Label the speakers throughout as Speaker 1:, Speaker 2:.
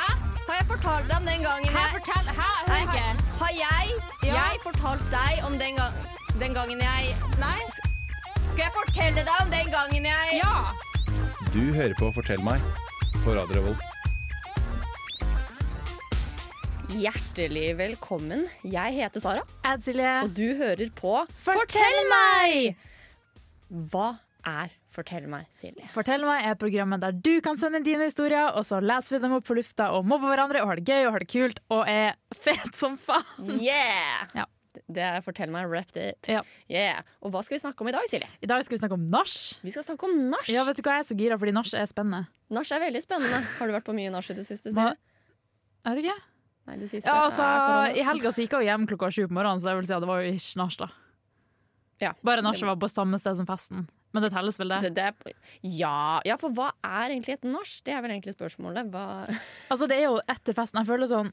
Speaker 1: jeg fortalte deg om den gangen
Speaker 2: Hæ,
Speaker 1: jeg
Speaker 2: fortell! Hæ, hør
Speaker 1: Nei,
Speaker 2: ikke!
Speaker 1: har- Har jeg,
Speaker 2: Ja.
Speaker 1: jeg fortalt deg om den, gang, den gangen jeg
Speaker 2: Nei?
Speaker 1: Skal jeg fortelle deg om den gangen jeg
Speaker 2: Ja!
Speaker 3: Du hører på Fortell meg på Radio Revolt.
Speaker 1: Hjertelig velkommen. Jeg heter Sara,
Speaker 2: Jeg, Silje.
Speaker 1: og du hører på
Speaker 2: Fortell meg!
Speaker 1: Hva er Fortell meg, Silje?
Speaker 2: Fortell meg er programmet der du kan sende inn dine historier, og så leser vi dem opp på lufta og mobber hverandre og har det gøy og har det kult og er fet som faen.
Speaker 1: Yeah!
Speaker 2: Ja.
Speaker 1: Det er Fortell meg, wrapped it.
Speaker 2: Ja.
Speaker 1: Yeah. Og hva skal vi snakke om i dag, Silje?
Speaker 2: I dag skal vi snakke om nach.
Speaker 1: Vi skal snakke om nach.
Speaker 2: Ja, vet du hva, jeg er så gira fordi nach er spennende.
Speaker 1: Nach er veldig spennende. Har du vært på mye nach i det siste,
Speaker 2: Hva-
Speaker 1: Silje?
Speaker 2: Jeg vet ikke.
Speaker 1: Nei, det siste
Speaker 2: Ja, altså,
Speaker 1: er korona.
Speaker 2: I helga så gikk jeg jo hjem klokka sju på morgenen, så det vil si at det var jo ikke nach, da.
Speaker 1: Ja.
Speaker 2: Bare nachet var på samme sted som festen. Men det telles vel, det?
Speaker 1: Det, det er, ja, ja, for hva er egentlig et nach? Det er vel egentlig spørsmålet. Hva,
Speaker 2: Altså, det er jo etter festen. Jeg føler sånn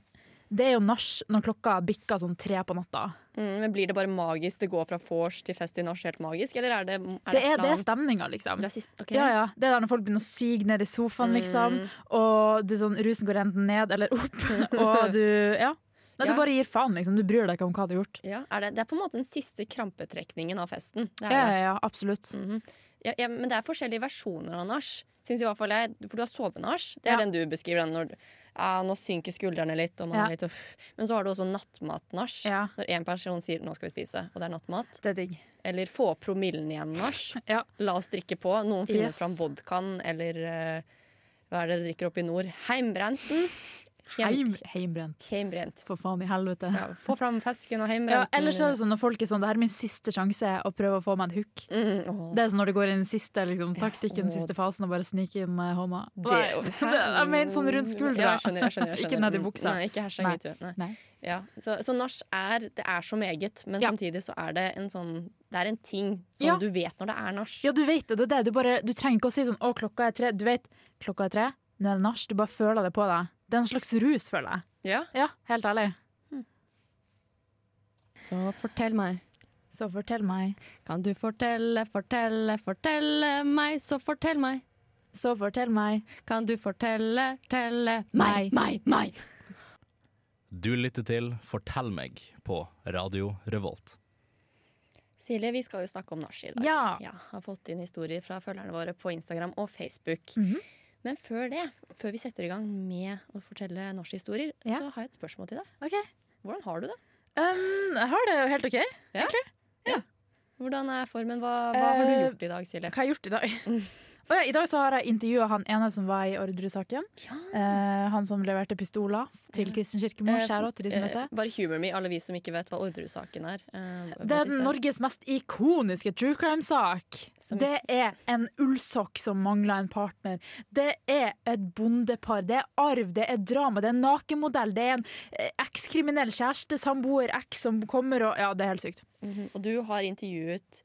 Speaker 2: Det er jo nach når klokka bikker sånn tre på natta.
Speaker 1: mm, men blir det bare magisk? Det går fra vors til fest til nach helt magisk? Eller er det
Speaker 2: Det er, det
Speaker 1: stemmer.
Speaker 2: er stemninga, liksom.
Speaker 1: Det er sist, ok.
Speaker 2: Ja, ja. Det er der når folk begynner å sige ned i sofaen, liksom.
Speaker 1: Mm.
Speaker 2: Og du, sånn, rusen går enten ned eller opp. Og du Ja. Nei,
Speaker 1: Ja.
Speaker 2: Du bare gir faen, liksom. Du bryr deg ikke om hva du har gjort.
Speaker 1: Ja, er det, det er på en måte den siste krampetrekningen av festen. Det er
Speaker 2: Ja,
Speaker 1: det.
Speaker 2: ja, ja, absolutt.
Speaker 1: Mm. Ja, ja, men det er forskjellige versjoner av nach. Syns i hvert fall jeg. For du har sovenach. Det er
Speaker 2: Ja.
Speaker 1: den du beskriver. Den når, ja, nå synker skuldrene litt, og man
Speaker 2: Ja.
Speaker 1: er litt uff. Men så har du også nattmatnach.
Speaker 2: Ja.
Speaker 1: Når én person sier 'nå skal vi spise', og det er nattmat.
Speaker 2: Det er digg.
Speaker 1: Eller 'få promillen igjen', nach.
Speaker 2: Ja.
Speaker 1: La oss drikke på. Noen finner
Speaker 2: Yes.
Speaker 1: fram vodkaen eller eh, hva er det dere drikker oppe i nord? Heimbrenten. Heim,
Speaker 2: Heim, heimbrent.
Speaker 1: heimbrent.
Speaker 2: For faen i helvete.
Speaker 1: Ja, få fram fesken og
Speaker 2: Ja,
Speaker 1: heimbrenten.
Speaker 2: ellers er det sånn når folk er sånn Det her er min siste sjanse å prøve å få meg en hook.
Speaker 1: Mm, åh.
Speaker 2: Det er sånn når det går inn i siste liksom, taktikken,
Speaker 1: åh.
Speaker 2: siste fasen, og bare snike inn eh, hånda.
Speaker 1: Det-
Speaker 2: Nei, jeg mener sånn rundt skuldra.
Speaker 1: Ja, jeg skjønner, jeg skjønner, jeg skjønner.
Speaker 2: Ikke ned i
Speaker 1: Mm,
Speaker 2: buksa.
Speaker 1: Nei, ikke hashtag
Speaker 2: Nei.
Speaker 1: metoo. Nei.
Speaker 2: Nei.
Speaker 1: Ja. Så, så nach er Det er så meget, men
Speaker 2: Ja.
Speaker 1: samtidig så er det en sånn Det er en ting som
Speaker 2: Ja.
Speaker 1: du vet når det er nach.
Speaker 2: Ja, du vet det. det, er det. Du, bare, du trenger ikke å si sånn 'Å, klokka er tre'. Du vet klokka er tre, nå er det nach. Du bare føler det på deg. Det er en slags rus, føler jeg.
Speaker 1: Ja.
Speaker 2: Ja, helt ærlig.
Speaker 4: Så fortell meg.
Speaker 2: Så fortell meg.
Speaker 4: Kan du fortelle, fortelle, fortelle meg, så fortell meg.
Speaker 2: Så fortell meg.
Speaker 4: Kan du fortelle, telle
Speaker 2: Meg.
Speaker 4: meg, meg, meg.
Speaker 5: Du lytter til Fortell meg på Radio Revolt.
Speaker 1: Silje, vi skal jo snakke om nach i dag.
Speaker 2: Ja.
Speaker 1: Har fått inn historier fra følgerne våre på Instagram og Facebook.
Speaker 2: Mhm.
Speaker 1: Men før det, før vi setter i gang med å fortelle nachhistorier,
Speaker 2: Ja.
Speaker 1: så har jeg et spørsmål til deg.
Speaker 2: OK.
Speaker 1: Hvordan har du det?
Speaker 2: Um, jeg har det jo helt OK.
Speaker 1: Hvordan er formen? Hva, hva har du
Speaker 2: Eh,
Speaker 1: gjort i dag, Silje?
Speaker 2: Hva har jeg gjort i dag? Å ja, I dag så har jeg intervjua han ene som var i Orderud-saken.
Speaker 1: Ja.
Speaker 2: Eh, han som leverte pistoler til Kristin Kirkemo.
Speaker 1: Eh,
Speaker 2: Skjæra til de som heter.
Speaker 1: Eh, bare humor me, alle vi som ikke vet hva Orderud-saken er. Eh,
Speaker 2: Det er
Speaker 1: Baptiste.
Speaker 2: Norges mest ikoniske true crime-sak.
Speaker 1: Som-
Speaker 2: Det er en ullsokk som mangler en partner. Det er et bondepar. Det er arv, det er drama, det er en nakenmodell. Det er en eh, ekskriminell kjæreste, samboer, eks som kommer og Ja, det er helt sykt.
Speaker 1: Mhm, Og du har intervjuet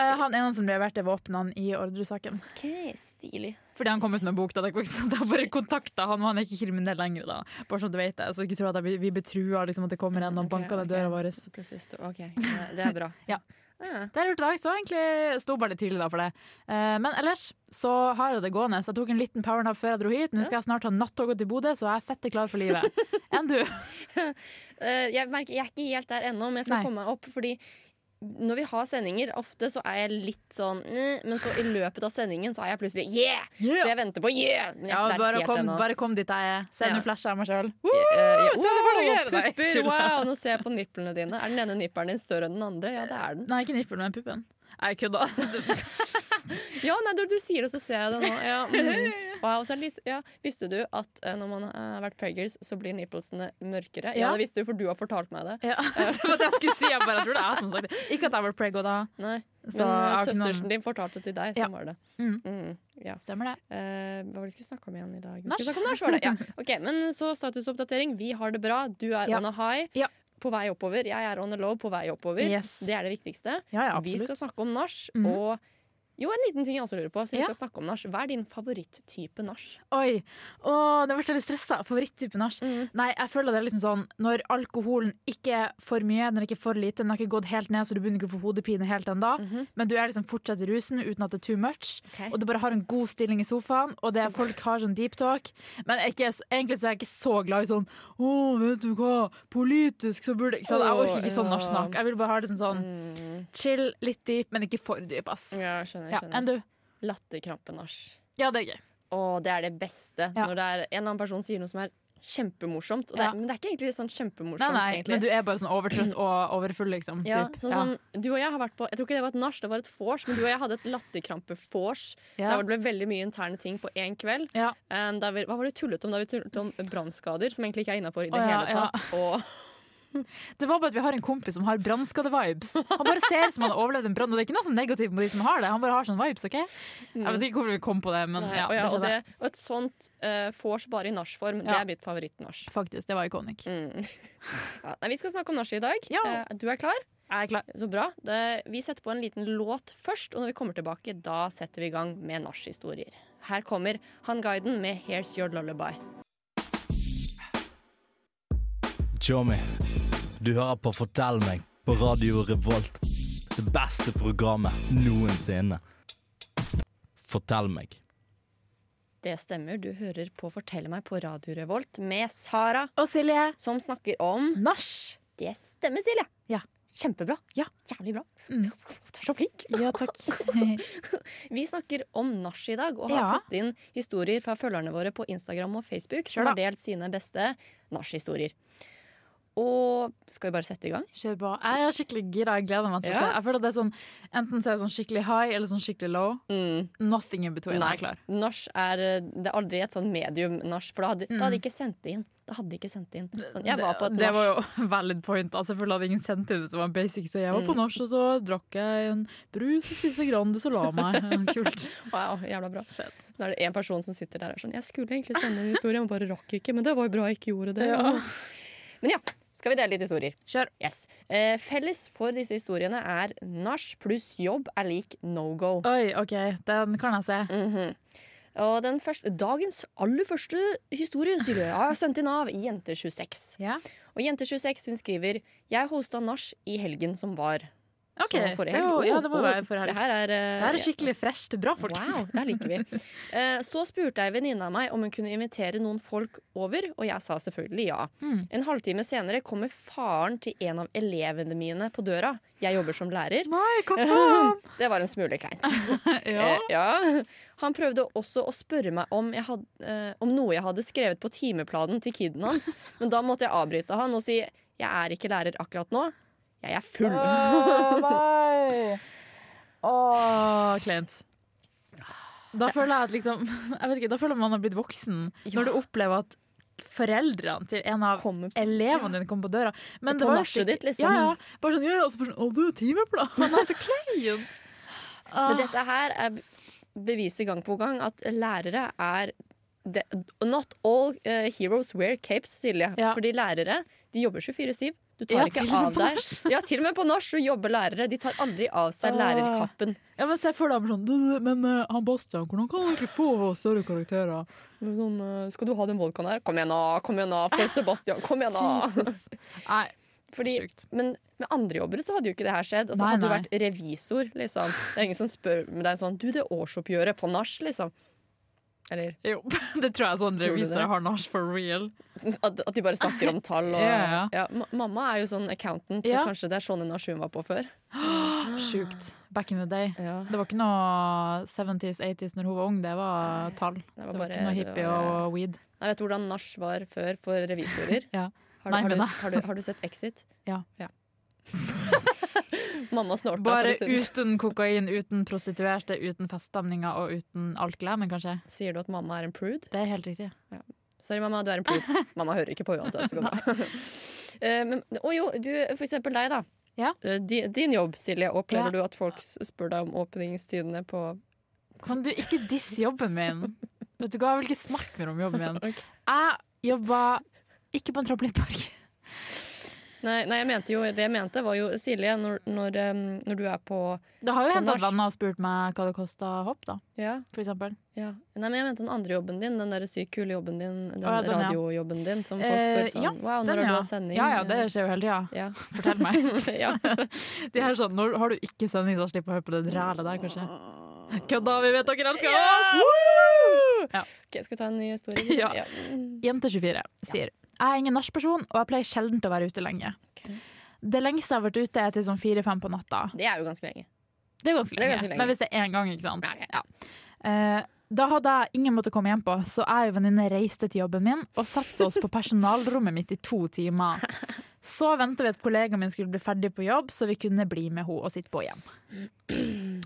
Speaker 2: Eh, han ene som leverte våpnene i Orderud-saken.
Speaker 1: OK, stilig.
Speaker 2: Fordi han kom ut med bok, da. Det så da bare kontakta han, og han er ikke kriminell lenger, da. Bare så du vet det. Så ikke tro at jeg blir- vi blir trua, liksom, at det kommer en og
Speaker 1: Ok,
Speaker 2: banker ned
Speaker 1: ok.
Speaker 2: døra vår. Det
Speaker 1: Plutselig sto- OK, ja, det er bra. Ah.
Speaker 2: Ja.
Speaker 1: Ja.
Speaker 2: har jeg gjort i dag, så egentlig sto bare litt tidlig da for det. Eh, men ellers så har jeg det gående. Så jeg tok en liten powernap før jeg dro hit. Nå skal jeg snart ha nattoget til Bodø, så jeg er fette klar for livet. Enn du?
Speaker 1: Eh, jeg, merker, jeg er ikke helt der ennå, men jeg skal
Speaker 2: Nei.
Speaker 1: komme meg opp. Fordi når vi har sendinger, ofte så er jeg litt sånn eh, Men så i løpet av sendingen så er jeg plutselig yeah! Så jeg venter på yeah! Men jeg
Speaker 2: Ja,
Speaker 1: er ikke der
Speaker 2: bare
Speaker 1: helt
Speaker 2: kom,
Speaker 1: ennå.
Speaker 2: bare kom dit jeg er. Se,
Speaker 1: Ja.
Speaker 2: nå flasher jeg meg sjøl.
Speaker 1: Eh, ja,
Speaker 2: Se, det var det
Speaker 1: wow,
Speaker 2: gøy. Nei,
Speaker 1: pupper!
Speaker 2: tulla.
Speaker 1: Wow, nå ser jeg på nipplene dine. Er den ene nipperen din større enn den andre? Ja, det er den.
Speaker 2: Nei, ikke nippelen, men puppen. Jeg kødda.
Speaker 1: Ja, nei, du, du sier det, så ser jeg det nå. Ja, mm. wow, så er det litt, ja. Visste du at eh, når man har vært preggers, så blir nipplesene mørkere? Ja,
Speaker 2: Ja.
Speaker 1: det visste du, for du har fortalt meg det.
Speaker 2: Ja, det var det jeg skulle si. Jeg bare jeg tror det er jeg som har sagt det. Ikke at jeg var prego da.
Speaker 1: Nei.
Speaker 2: Så
Speaker 1: Men eh,
Speaker 2: jeg har ikke noen-
Speaker 1: søstersen din fortalte til deg,
Speaker 2: Ja.
Speaker 1: sånn var det.
Speaker 2: Mm.
Speaker 1: Mm, ja.
Speaker 2: Stemmer det.
Speaker 1: Eh, hva var det vi skulle snakke om igjen i dag? Vi
Speaker 2: Nach.
Speaker 1: skulle snakke om nach, var det. Ja. Ok, men så statusoppdatering. Vi har det bra. Du er
Speaker 2: Ja.
Speaker 1: on a high.
Speaker 2: Ja.
Speaker 1: På vei oppover. Jeg er on a low på vei oppover.
Speaker 2: Yes.
Speaker 1: Det er det viktigste.
Speaker 2: Ja, ja,
Speaker 1: vi
Speaker 2: absolutt.
Speaker 1: skal snakke om nach
Speaker 2: Mhm.
Speaker 1: og Jo, en liten ting jeg også lurer på. Siden
Speaker 2: Ja.
Speaker 1: vi skal snakke om nach. Hva er din favoritttype nach?
Speaker 2: Oi, Åh, nå ble jeg litt stressa. Favorittype nach.
Speaker 1: Mm.
Speaker 2: Nei, jeg føler det er liksom sånn når alkoholen ikke er for mye, den er ikke for lite, den har ikke gått helt ned, så du begynner ikke å få hodepine helt ennå, men du er liksom fortsatt i rusen uten at det er too much,
Speaker 1: Mhm. Ok.
Speaker 2: og du bare har en god stilling i sofaen, og det er folk har sånn deep talk, men jeg er ikke, egentlig så er jeg ikke så glad i sånn Å, vet du hva, politisk så burde Ikke sant, jeg orker ikke
Speaker 1: Åh,
Speaker 2: sånn
Speaker 1: ja.
Speaker 2: nachsnakk. Jeg vil bare ha det som sånn
Speaker 1: Mm.
Speaker 2: chill, litt dyp, men ikke for dyp, ass.
Speaker 1: Ja, jeg skjønner.
Speaker 2: Ja,
Speaker 1: jeg skjønner.
Speaker 2: enn du?
Speaker 1: Latterkrampe-nach.
Speaker 2: Ja, det er gøy.
Speaker 1: Og det er det beste.
Speaker 2: Ja.
Speaker 1: Når det er en eller annen person sier noe som er kjempemorsomt. Og det, er-
Speaker 2: Ja.
Speaker 1: Men det er ikke egentlig sånn kjempemorsomt.
Speaker 2: Nei, nei,
Speaker 1: egentlig.
Speaker 2: men du er bare sånn overtrøtt og overfull, liksom.
Speaker 1: ja,
Speaker 2: typ.
Speaker 1: sånn som du og jeg har vært på Jeg tror ikke det var et nach, det var et vors, men du og jeg hadde et latterkrampe-vors.
Speaker 2: Ja.
Speaker 1: Der hvor det ble veldig mye interne ting på én kveld.
Speaker 2: ja.
Speaker 1: Um, da vi, hva var det vi tullet om? Da vi tullet om brannskader, som egentlig ikke er innafor i det
Speaker 2: Å, ja,
Speaker 1: hele tatt. Og,
Speaker 2: Det var bare at vi har en kompis som har brannskade-vibes. Han bare ser som han har overlevd en brann, og det er ikke noe sånn negativt med de som har det. Han bare har sånne vibes, OK? Jeg vet ikke hvorfor vi kom på det, men
Speaker 1: nei,
Speaker 2: ja,
Speaker 1: og, eh, ja,
Speaker 2: det
Speaker 1: og,
Speaker 2: skjedde.
Speaker 1: det, og et sånt eh, vors bare i nachform, det
Speaker 2: Ja.
Speaker 1: er mitt favorittnach.
Speaker 2: Faktisk, det var ikonik.
Speaker 1: Mm. Ja, nei, vi skal snakke om nach i dag.
Speaker 2: Ja.
Speaker 1: Eh, du er klar?
Speaker 2: Jeg er klar.
Speaker 1: Så bra. Det, vi setter på en liten låt først, og når vi kommer tilbake, da setter vi i gang med nachhistorier. Her kommer Han Guiden med 'Here's Your Lullaby'.
Speaker 5: Tjommi, du hører på Fortell meg på Radio Revolt. Det beste programmet noensinne. Fortell meg.
Speaker 1: Det stemmer, du hører på Fortell meg på Radio Revolt med Sara,
Speaker 2: Og Silje,
Speaker 1: som snakker om
Speaker 2: nach.
Speaker 1: Det stemmer, Silje!
Speaker 2: Ja.
Speaker 1: Kjempebra.
Speaker 2: Ja.
Speaker 1: Jævlig bra.
Speaker 2: Mm.
Speaker 1: Du er så flink.
Speaker 2: Ja, takk.
Speaker 1: Vi snakker om nach i dag, og har
Speaker 2: Ja.
Speaker 1: fått inn historier fra følgerne våre på Instagram og Facebook som
Speaker 2: Kjør da.
Speaker 1: har delt sine beste nach-historier. Og skal vi bare sette i gang?
Speaker 2: Kjør på. Jeg er skikkelig gira. Jeg gleder meg til å se.
Speaker 1: Ja.
Speaker 2: Jeg føler at det er sånn, Enten så er jeg sånn skikkelig high eller sånn skikkelig low.
Speaker 1: Mm.
Speaker 2: Nothing in between. Jeg er klar.
Speaker 1: Nach er Det er aldri et sånn medium-nach, for da hadde, da
Speaker 2: Mm.
Speaker 1: hadde de ikke sendt det inn. Da hadde de ikke sendt det inn. Sånn, jeg var på et
Speaker 2: det, det
Speaker 1: nach.
Speaker 2: var jo valid point. Altså, selvfølgelig hadde ingen sendt inn det som var basic, så jeg var
Speaker 1: Mm.
Speaker 2: på norsk, og så drakk jeg en brus og spiste Grandis og la meg. Kult.
Speaker 1: Wow, jævla bra. Da er det en person som sitter der og er sånn Jeg skulle egentlig sende en historie, men bare rakk ikke. Men det var jo bra jeg ikke gjorde det. Men ja, skal vi dele litt historier?
Speaker 2: Kjør.
Speaker 1: Yes. Eh, felles for disse historiene er nach pluss jobb er lik no go.
Speaker 2: Oi, OK, den kan jeg se.
Speaker 1: Mm, Og den første, dagens aller første historie sier jeg, har sendt inn av Jente26.
Speaker 2: Ja.
Speaker 1: Og Jente26 hun skriver Jeg hosta nach i helgen som var.
Speaker 2: OK.
Speaker 1: Så forrige
Speaker 2: Det, er jo,
Speaker 1: helg.
Speaker 2: ja,
Speaker 1: Å,
Speaker 2: det må
Speaker 1: å,
Speaker 2: være for
Speaker 1: Det
Speaker 2: helg.
Speaker 1: her er, eh,
Speaker 2: Det her er skikkelig fresht. Bra, folkens.
Speaker 1: Wow, der liker vi. Eh, Så spurte ei venninne av meg om hun kunne invitere noen folk over, og jeg sa selvfølgelig ja.
Speaker 2: Mm.
Speaker 1: En halvtime senere kommer faren til en av elevene mine på døra. Jeg jobber som lærer.
Speaker 2: Nei, hva faen?
Speaker 1: Det var en smule kleint.
Speaker 2: Ja.
Speaker 1: Eh, ja. Han prøvde også å spørre meg om, jeg had, eh, om noe jeg hadde skrevet på timeplanen til kiden hans, men da måtte jeg avbryte han og si jeg er ikke lærer akkurat nå. Jeg er full.
Speaker 2: nei. Åh, kleint.
Speaker 1: Ah,
Speaker 2: Da føler jeg at liksom Jeg vet ikke, da føler man har blitt voksen når du opplever at foreldrene til en av
Speaker 1: Kommer på-
Speaker 2: elevene dine kommer på døra. Men
Speaker 1: På
Speaker 2: det var jo
Speaker 1: nachet
Speaker 2: sikkert-
Speaker 1: ditt, liksom.
Speaker 2: Ja, ja. Bare sånn, ja, ja, og så bare sånn, å, du har timeplan! Han er så kleint!
Speaker 1: Men
Speaker 2: Ah.
Speaker 1: dette her er beviser gang på gang at lærere er de, Not all eh, heroes wear capes, Silje.
Speaker 2: Ja.
Speaker 1: Fordi lærere de jobber 24-7. Du tar
Speaker 2: Ja,
Speaker 1: ikke
Speaker 2: til og med
Speaker 1: av
Speaker 2: på
Speaker 1: deg.
Speaker 2: nach.
Speaker 1: Ja, til og med på nach så jobber lærere. De tar aldri av seg
Speaker 2: Åh.
Speaker 1: lærerkappen.
Speaker 2: Ja, men se for deg han var sånn, du, men eh, han Bastian, hvordan kan dere få større karakterer?
Speaker 1: Men Sånn, eh, skal du ha den vodkaen her? Kom igjen, da! Kom igjen, da! For Sebastian, kom igjen, da!
Speaker 2: Jesus. Nei,
Speaker 1: Fordi,
Speaker 2: sjukt.
Speaker 1: men med andre jobber så hadde jo ikke det her skjedd. Altså,
Speaker 2: Nei,
Speaker 1: hadde du
Speaker 2: nei.
Speaker 1: vært revisor, liksom. Det er ingen som spør med deg sånn Du, det årsoppgjøret på nach, liksom. Eller
Speaker 2: Jo, det tror jeg sånn
Speaker 1: Tror du det?
Speaker 2: revisorer har nach for real.
Speaker 1: At, at de bare snakker om tall og
Speaker 2: Ja, ja.
Speaker 1: ma- Mamma er jo sånn accountant,
Speaker 2: Ja.
Speaker 1: så kanskje det er sånn hun har hun var på før. Ah.
Speaker 2: Sjukt. Back in the day.
Speaker 1: Ja,
Speaker 2: Det var ikke noe 70s, 80s når hun var ung, det var tall. Det
Speaker 1: det
Speaker 2: var,
Speaker 1: var bare,
Speaker 2: ikke noe
Speaker 1: det
Speaker 2: hippie
Speaker 1: var-
Speaker 2: og weed.
Speaker 1: Nei, vet du hvordan nach var før for revisorer?
Speaker 2: Ja.
Speaker 1: har, du, har,
Speaker 2: Nei, men
Speaker 1: du,
Speaker 2: da.
Speaker 1: har, du, har du sett Exit?
Speaker 2: Ja.
Speaker 1: Mamma snorta.
Speaker 2: Bare
Speaker 1: for å si det sånn.
Speaker 2: uten kokain, uten prostituerte, uten feststemninger og uten alt glemmen, kanskje.
Speaker 1: Sier du at mamma er en prude?
Speaker 2: Det er helt riktig.
Speaker 1: Sorry, mamma, du er en prude. Mamma hører ikke på uansett. Så går det bra. Eh, men, å jo, du, for eksempel deg, da.
Speaker 2: Ja.
Speaker 1: Eh, Din, din jobb, Silje. Opplever
Speaker 2: Ja.
Speaker 1: du at folk s- spør deg om åpningstidene på
Speaker 2: Kan du ikke disse jobben min? Vet du hva, jeg vil ikke snakke mer om jobben min. Jeg jobba ikke på en trampolinpark.
Speaker 1: Nei, nei jeg mente jo, det jeg mente, var jo Silje, når, når, em, når du er på
Speaker 2: Det har jo
Speaker 1: På
Speaker 2: hendt at
Speaker 1: nach.
Speaker 2: venner har spurt meg hva det kosta hopp, da,
Speaker 1: ja,
Speaker 2: for eksempel.
Speaker 1: ja. Nei, men jeg mente den andre jobben din, den der sykt kule jobben din, den
Speaker 2: Å, ja, den, ja.
Speaker 1: radiojobben din, som folk
Speaker 2: Eh,
Speaker 1: spør sånn
Speaker 2: ja,
Speaker 1: Wow, når
Speaker 2: Den,
Speaker 1: har du
Speaker 2: ja.
Speaker 1: hatt sending?
Speaker 2: Ja, ja, det skjer jo hele tida.
Speaker 1: ja.
Speaker 2: Fortell meg.
Speaker 1: ja.
Speaker 2: De her sånn, når har du ikke sending, så slipper jeg å høre på det rælet der, kanskje.
Speaker 1: Ah.
Speaker 2: Kødda, vi vet dere elsker oss! Woo! Ja.
Speaker 1: Ok, Skal vi ta en ny historie?
Speaker 2: Ja.
Speaker 1: Mm.
Speaker 2: Jente24 sier Jeg er ingen nachperson, og jeg pleier sjelden å være ute lenge.
Speaker 1: Ok.
Speaker 2: Det lengste jeg har vært ute, er til sånn fire-fem på natta.
Speaker 1: Det er jo ganske lenge.
Speaker 2: Det er ganske
Speaker 1: Det er
Speaker 2: lenge.
Speaker 1: ganske lenge.
Speaker 2: Men hvis det er én gang, ikke sant. Ja. Eh, da hadde jeg ingen måte å komme hjem på, så jeg og venninne reiste til jobben min og satte oss på personalrommet mitt i to timer. Så venta vi at kollegaen min skulle bli ferdig på jobb, så vi kunne bli med henne og sitte på hjem.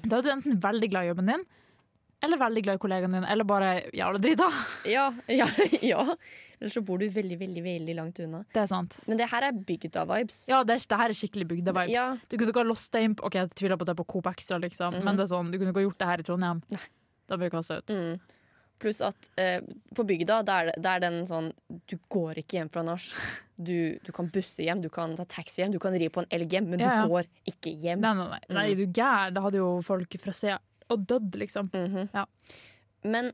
Speaker 2: Da er du enten veldig glad i jobben din, eller veldig glad i kollegaen din, eller bare jævla drita.
Speaker 1: Ja, ja, ja. Eller så bor du veldig, veldig veldig langt unna.
Speaker 2: Det er sant.
Speaker 1: Men det her er bygda-vibes.
Speaker 2: Ja, det, er, det her er skikkelig bygdevibes.
Speaker 1: Ja.
Speaker 2: Du kunne ikke ha låst deg inn på- Ok, jeg tviler på at det er på Coop Extra, liksom,
Speaker 1: Mhm.
Speaker 2: men det er sånn, du kunne ikke ha gjort det her i Trondheim. Da blir du kasta ut.
Speaker 1: Mm. Pluss at eh, på bygda, det er, det er den sånn Du går ikke hjem fra nach. Du, du kan busse hjem, du kan ta taxi hjem, du kan ri på en elg hjem, men
Speaker 2: Ja, ja.
Speaker 1: du går ikke hjem.
Speaker 2: Nei, nei, nei.
Speaker 1: Mm.
Speaker 2: nei du gær. Da hadde jo folk frasert og dødd, liksom.
Speaker 1: Mhm.
Speaker 2: Ja.
Speaker 1: Men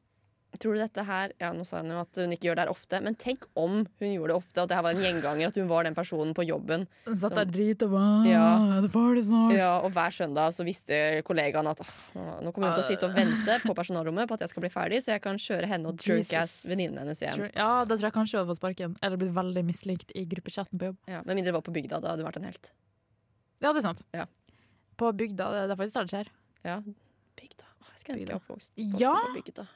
Speaker 1: tror du dette her Ja, nå sa hun jo at hun ikke gjør det her ofte, men tenk om hun gjorde det ofte, at det her var en gjenganger, at hun var den personen på jobben.
Speaker 2: Den satt
Speaker 1: Som-
Speaker 2: der drit og bare
Speaker 1: Ja.
Speaker 2: «Ah, Det var det snart.
Speaker 1: Ja, og hver søndag så visste kollegaen at «Åh, nå- nå kommer hun til å sitte og vente på personalrommet på at jeg skal bli ferdig, så jeg kan kjøre henne og
Speaker 2: Jesus.
Speaker 1: jerkass venninnen hennes hjem.
Speaker 2: Tror- Ja, da tror jeg kanskje jeg hadde fått sparken. Eller blitt veldig mislikt i gruppechatten på jobb.
Speaker 1: Ja, Med mindre det var på bygda, da hadde hun vært en helt.
Speaker 2: Ja, det er sant.
Speaker 1: Ja.
Speaker 2: På bygda. Det, det er faktisk der det skjer.
Speaker 1: Ja, bygda. Åh, Jeg skulle ønske jeg var oppvokst
Speaker 2: Ja.
Speaker 1: oppvokst på bygda.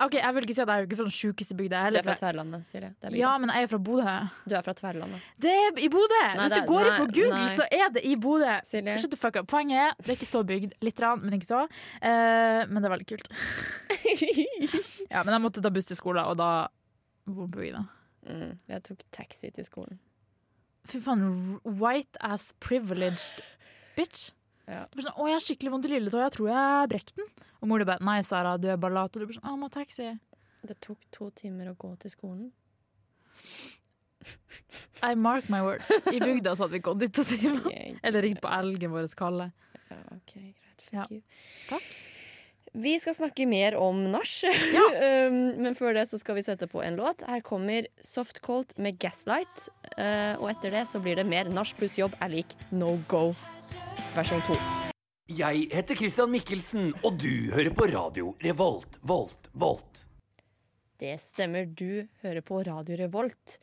Speaker 2: OK, jeg vil ikke si at jeg er jo ikke fra den sjukeste bygda.
Speaker 1: Du
Speaker 2: Jeg
Speaker 1: er fra
Speaker 2: heller.
Speaker 1: Tverlandet, sier jeg. Det er bygda.
Speaker 2: Ja, men jeg er fra Bodø.
Speaker 1: Du er fra Tverlandet.
Speaker 2: Det er i Bodø!
Speaker 1: Nei,
Speaker 2: Hvis
Speaker 1: det er-
Speaker 2: du går inn
Speaker 1: nei,
Speaker 2: på Google,
Speaker 1: nei.
Speaker 2: så er det i Bodø.
Speaker 1: Silje.
Speaker 2: Shut the fuck up. Poenget er det er ikke så bygd. Litt, rann, men ikke så. Eh, men det er veldig kult. ja, men jeg måtte ta buss til skolen, og da bor jeg på bygda.
Speaker 1: Mm, jeg tok taxi til skolen.
Speaker 2: Fy faen, r- white ass privileged bitch.
Speaker 1: Ja.
Speaker 2: Du blir sånn, å, jeg har skikkelig vondt i lilletåa, jeg tror jeg brekker den. Og mor di bare nei, Sara, du er bare lat. Og du blir sånn, å, må ha taxi.
Speaker 1: Det tok to timer å gå til skolen.
Speaker 2: I mark my words. I bygda så hadde vi gått dit og timen.
Speaker 1: Ok,
Speaker 2: Eller ringt på elgen vår, Kalle.
Speaker 1: ja, ok, greit. Fuck
Speaker 2: Ja.
Speaker 1: you.
Speaker 2: Takk.
Speaker 1: Vi skal snakke mer om nach, um, men før det så skal vi sette på en låt. Her kommer Soft Cold med Gaslight. eh, og etter det så blir det mer nach pluss jobb er lik no go versjon to.
Speaker 6: Jeg heter Christian Mikkelsen, og du hører på radio Revolt, Volt, Volt.
Speaker 1: Det stemmer, du hører på Radio Revolt.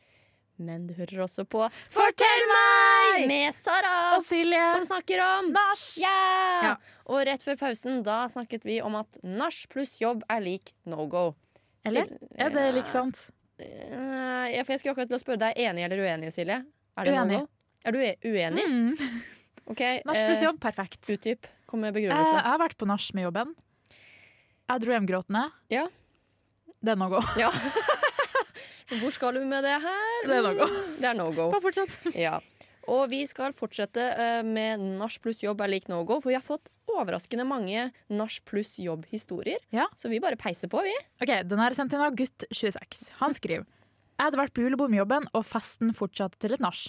Speaker 1: Men du hører også på Fortell meg! med Sara,
Speaker 2: Og Silje.
Speaker 1: som snakker om
Speaker 2: Nach!
Speaker 1: Ja!
Speaker 2: Ja.
Speaker 1: Og rett før pausen da snakket vi om at nach pluss jobb er lik no go.
Speaker 2: Eller?
Speaker 1: Til-
Speaker 2: Er det like sant?
Speaker 1: Eh, ja, for jeg skulle akkurat til å spørre deg, enig eller uenig, Silje? Er det
Speaker 2: Uenig.
Speaker 1: no go? Er du e- uenig?
Speaker 2: Mm.
Speaker 1: Ok,
Speaker 2: Nach
Speaker 1: eh,
Speaker 2: pluss jobb, perfekt.
Speaker 1: Utdyp. Kom med
Speaker 2: Eh, jeg
Speaker 1: begrunnelse.
Speaker 2: har vært på nach med jobben. Jeg dro hjem gråtende.
Speaker 1: Ja.
Speaker 2: Det er no go.
Speaker 1: Ja.
Speaker 2: Eh,
Speaker 1: Hvor skal du med det her?
Speaker 2: Det er no go.
Speaker 1: Mm, Det er no go.
Speaker 2: Bare fortsett.
Speaker 1: Ja. Og vi skal fortsette eh, med nach pluss jobb er lik no go, for vi har fått overraskende mange nach pluss jobb-historier.
Speaker 2: Ja.
Speaker 1: Så vi bare peiser på, vi.
Speaker 2: Ok, Den her er sendt inn av gutt 26. Han skriver Jeg hadde vært på julebord med jobben, og festen fortsatte til et nach.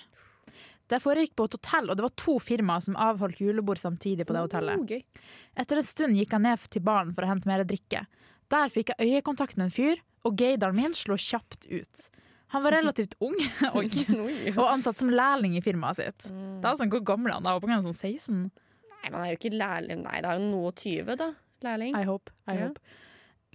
Speaker 2: Det foregikk på et hotell, og det var to firmaer som avholdt julebord samtidig på det hotellet.
Speaker 1: Oh, gøy.
Speaker 2: Etter en stund gikk jeg ned til baren for å hente mer drikke. Der fikk jeg øyekontakt med en fyr, og gaydaren min slo kjapt ut. Han var relativt ung og,
Speaker 1: Oi. Mm.
Speaker 2: og ansatt som lærling i firmaet sitt. Da er sånn, Hvor gammel er han? da? Håper han er sånn 16?
Speaker 1: Nei, man er jo ikke lærling. Nei, det er jo noe 20, da. Lærling.
Speaker 2: I hope. I
Speaker 1: Ja.
Speaker 2: hope.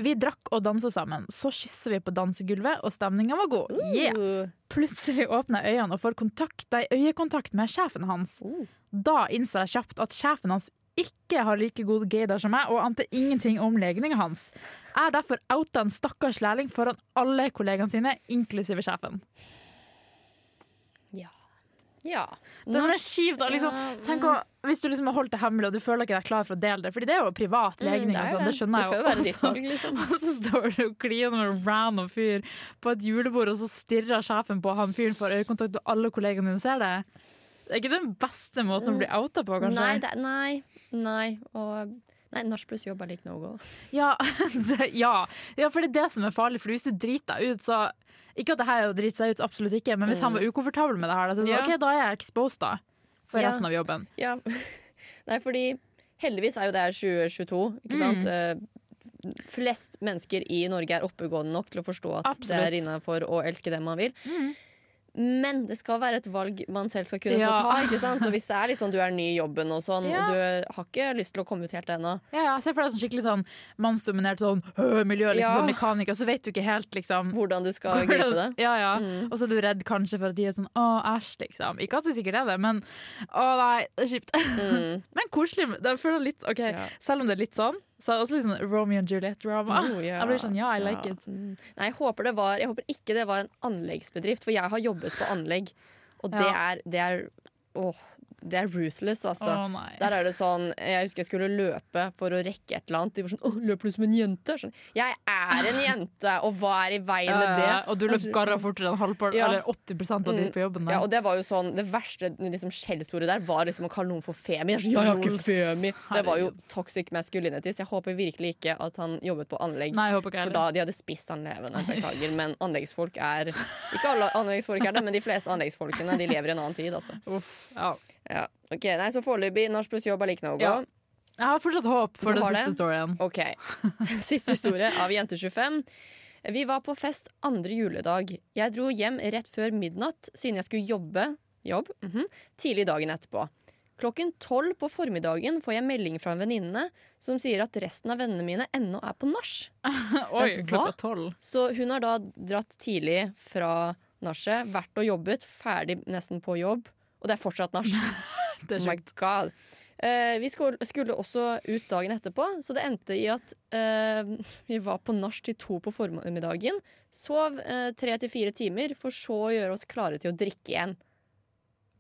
Speaker 2: Vi drakk og dansa sammen. Så kyssa vi på dansegulvet, og stemninga var god. Yeah!
Speaker 1: Uh,
Speaker 2: Plutselig åpner jeg øynene og får kontakt, nei, øyekontakt med sjefen hans.
Speaker 1: Oh.
Speaker 2: Da innser jeg kjapt at sjefen hans ikke har like god gaydar som meg, og ante ingenting om legninga hans. Jeg er derfor outa en stakkars lærling foran alle kollegaene sine, inklusive sjefen.
Speaker 1: ja.
Speaker 2: Den er kjipt å liksom Tenk å, hvis du liksom har holdt det hemmelig, og du føler ikke deg klar for å dele det, Fordi det er jo privat legning, og sånn, det skjønner jeg
Speaker 1: Mm, jo.
Speaker 2: jo.
Speaker 1: Det skal jo være ditt
Speaker 2: Også-
Speaker 1: valg, liksom.
Speaker 2: Og så står du og kliner med en random fyr på et julebord, og så stirrer sjefen på han fyren for øyekontakt, og alle kollegene dine ser det. Det er ikke den beste måten å bli outa på, kanskje.
Speaker 1: Nei, det, er- nei, nei. Og, Nei, nach pluss jobb er lik no go.
Speaker 2: Ja, det, ja. ja, for det er det som er farlig. For hvis du driter deg ut, så Ikke at det her er å drite seg ut, absolutt ikke, men hvis han var ukomfortabel med det her, da, så er det sånn,
Speaker 4: Ja.
Speaker 2: OK, da er jeg exposed, da. For
Speaker 1: Ja.
Speaker 2: resten av jobben.
Speaker 1: Ja. Nei, fordi heldigvis er jo det her 2022, ikke sant?
Speaker 2: Mm.
Speaker 1: Eh, flest mennesker i Norge er oppegående nok til å forstå at det
Speaker 2: Absolutt. Mm.
Speaker 1: er innafor å elske det man vil. Men det skal være et valg man selv skal kunne
Speaker 2: Ja.
Speaker 1: få ta. ikke sant? Og hvis det er litt sånn du er ny i jobben, og sånn,
Speaker 2: Ja.
Speaker 1: og du har ikke lyst til å komme ut helt ennå
Speaker 2: Ja, ja, Se for deg sånn skikkelig sånn mannsdominert sånn øh, miljø, liksom,
Speaker 1: Ja.
Speaker 2: sånn mekaniker, så vet du ikke helt, liksom.
Speaker 1: hvordan du skal gripe det Mm.
Speaker 2: Ja, ja. Og så er du redd kanskje for at de er sånn å, æsj, liksom. Ikke at det sikkert er det, men å nei, det er kjipt. men koselig. men Jeg føler litt, ok,
Speaker 1: Mm. Ja.
Speaker 2: Selv om det er litt sånn, så er det også litt sånn Romeo and Juliet-drama.
Speaker 1: Oh, ja.
Speaker 2: Jeg blir sånn ja, I like
Speaker 1: Ja.
Speaker 2: it.
Speaker 1: Mm. Nei, jeg håper, det var, jeg håper ikke det var en anleggsbedrift, for jeg har jobbet på anlegg. Og det
Speaker 2: Ja.
Speaker 1: er det er, åh, det er ruthless, altså.
Speaker 2: Å, nei.
Speaker 1: Der er det sånn, Jeg husker jeg skulle løpe for å rekke et eller annet. De var sånn åh, 'Løper du som en jente?' Sånn, jeg er en jente, og hva er i veien
Speaker 2: Ja,
Speaker 1: med
Speaker 2: ja,
Speaker 1: det?
Speaker 2: ja. Og du løp garra fortere enn halvparten,
Speaker 1: Ja. Mm.
Speaker 2: eller 80 av de på jobben.
Speaker 1: Ja, og Det var jo sånn, det verste liksom, skjellsordet der var liksom å kalle noen for femi. Jeg er sånn, jeg er ikke femi Det var jo toxic masculinity, så jeg håper virkelig ikke at han jobbet på anlegg.
Speaker 2: Nei, jeg håper ikke
Speaker 1: For
Speaker 2: heller.
Speaker 1: da, De hadde spist han levende, beklager. Men anleggsfolk er Ikke alle anleggsfolk er det, men de fleste anleggsfolkene De lever i en annen tid, altså.
Speaker 2: Uff, ja.
Speaker 1: Ja. Ok, nei, Så foreløpig norsk pluss jobb er like no go.
Speaker 2: Ja. Jeg har fortsatt håp for
Speaker 1: Du
Speaker 2: den
Speaker 1: har
Speaker 2: siste
Speaker 1: det?
Speaker 2: storyen.
Speaker 1: Ok, Siste historie av Jente25. Vi var på fest andre juledag. Jeg dro hjem rett før midnatt siden jeg skulle jobbe jobb, mhm, tidlig dagen etterpå. Klokken tolv på formiddagen får jeg melding fra en venninne som sier at resten av vennene mine ennå er på nach.
Speaker 2: Oi,
Speaker 1: Vent, hva?
Speaker 2: klokka tolv.
Speaker 1: Så hun har da dratt tidlig fra nachet, vært og jobbet, ferdig nesten på jobb, og det er fortsatt nach.
Speaker 2: Det er
Speaker 1: Oh my
Speaker 2: sjukt.
Speaker 1: god. Eh, vi skål- skulle også ut dagen etterpå, så det endte i at eh, vi var på nach til to på formiddagen. Sov eh, tre til fire timer, for så å gjøre oss klare til å drikke igjen.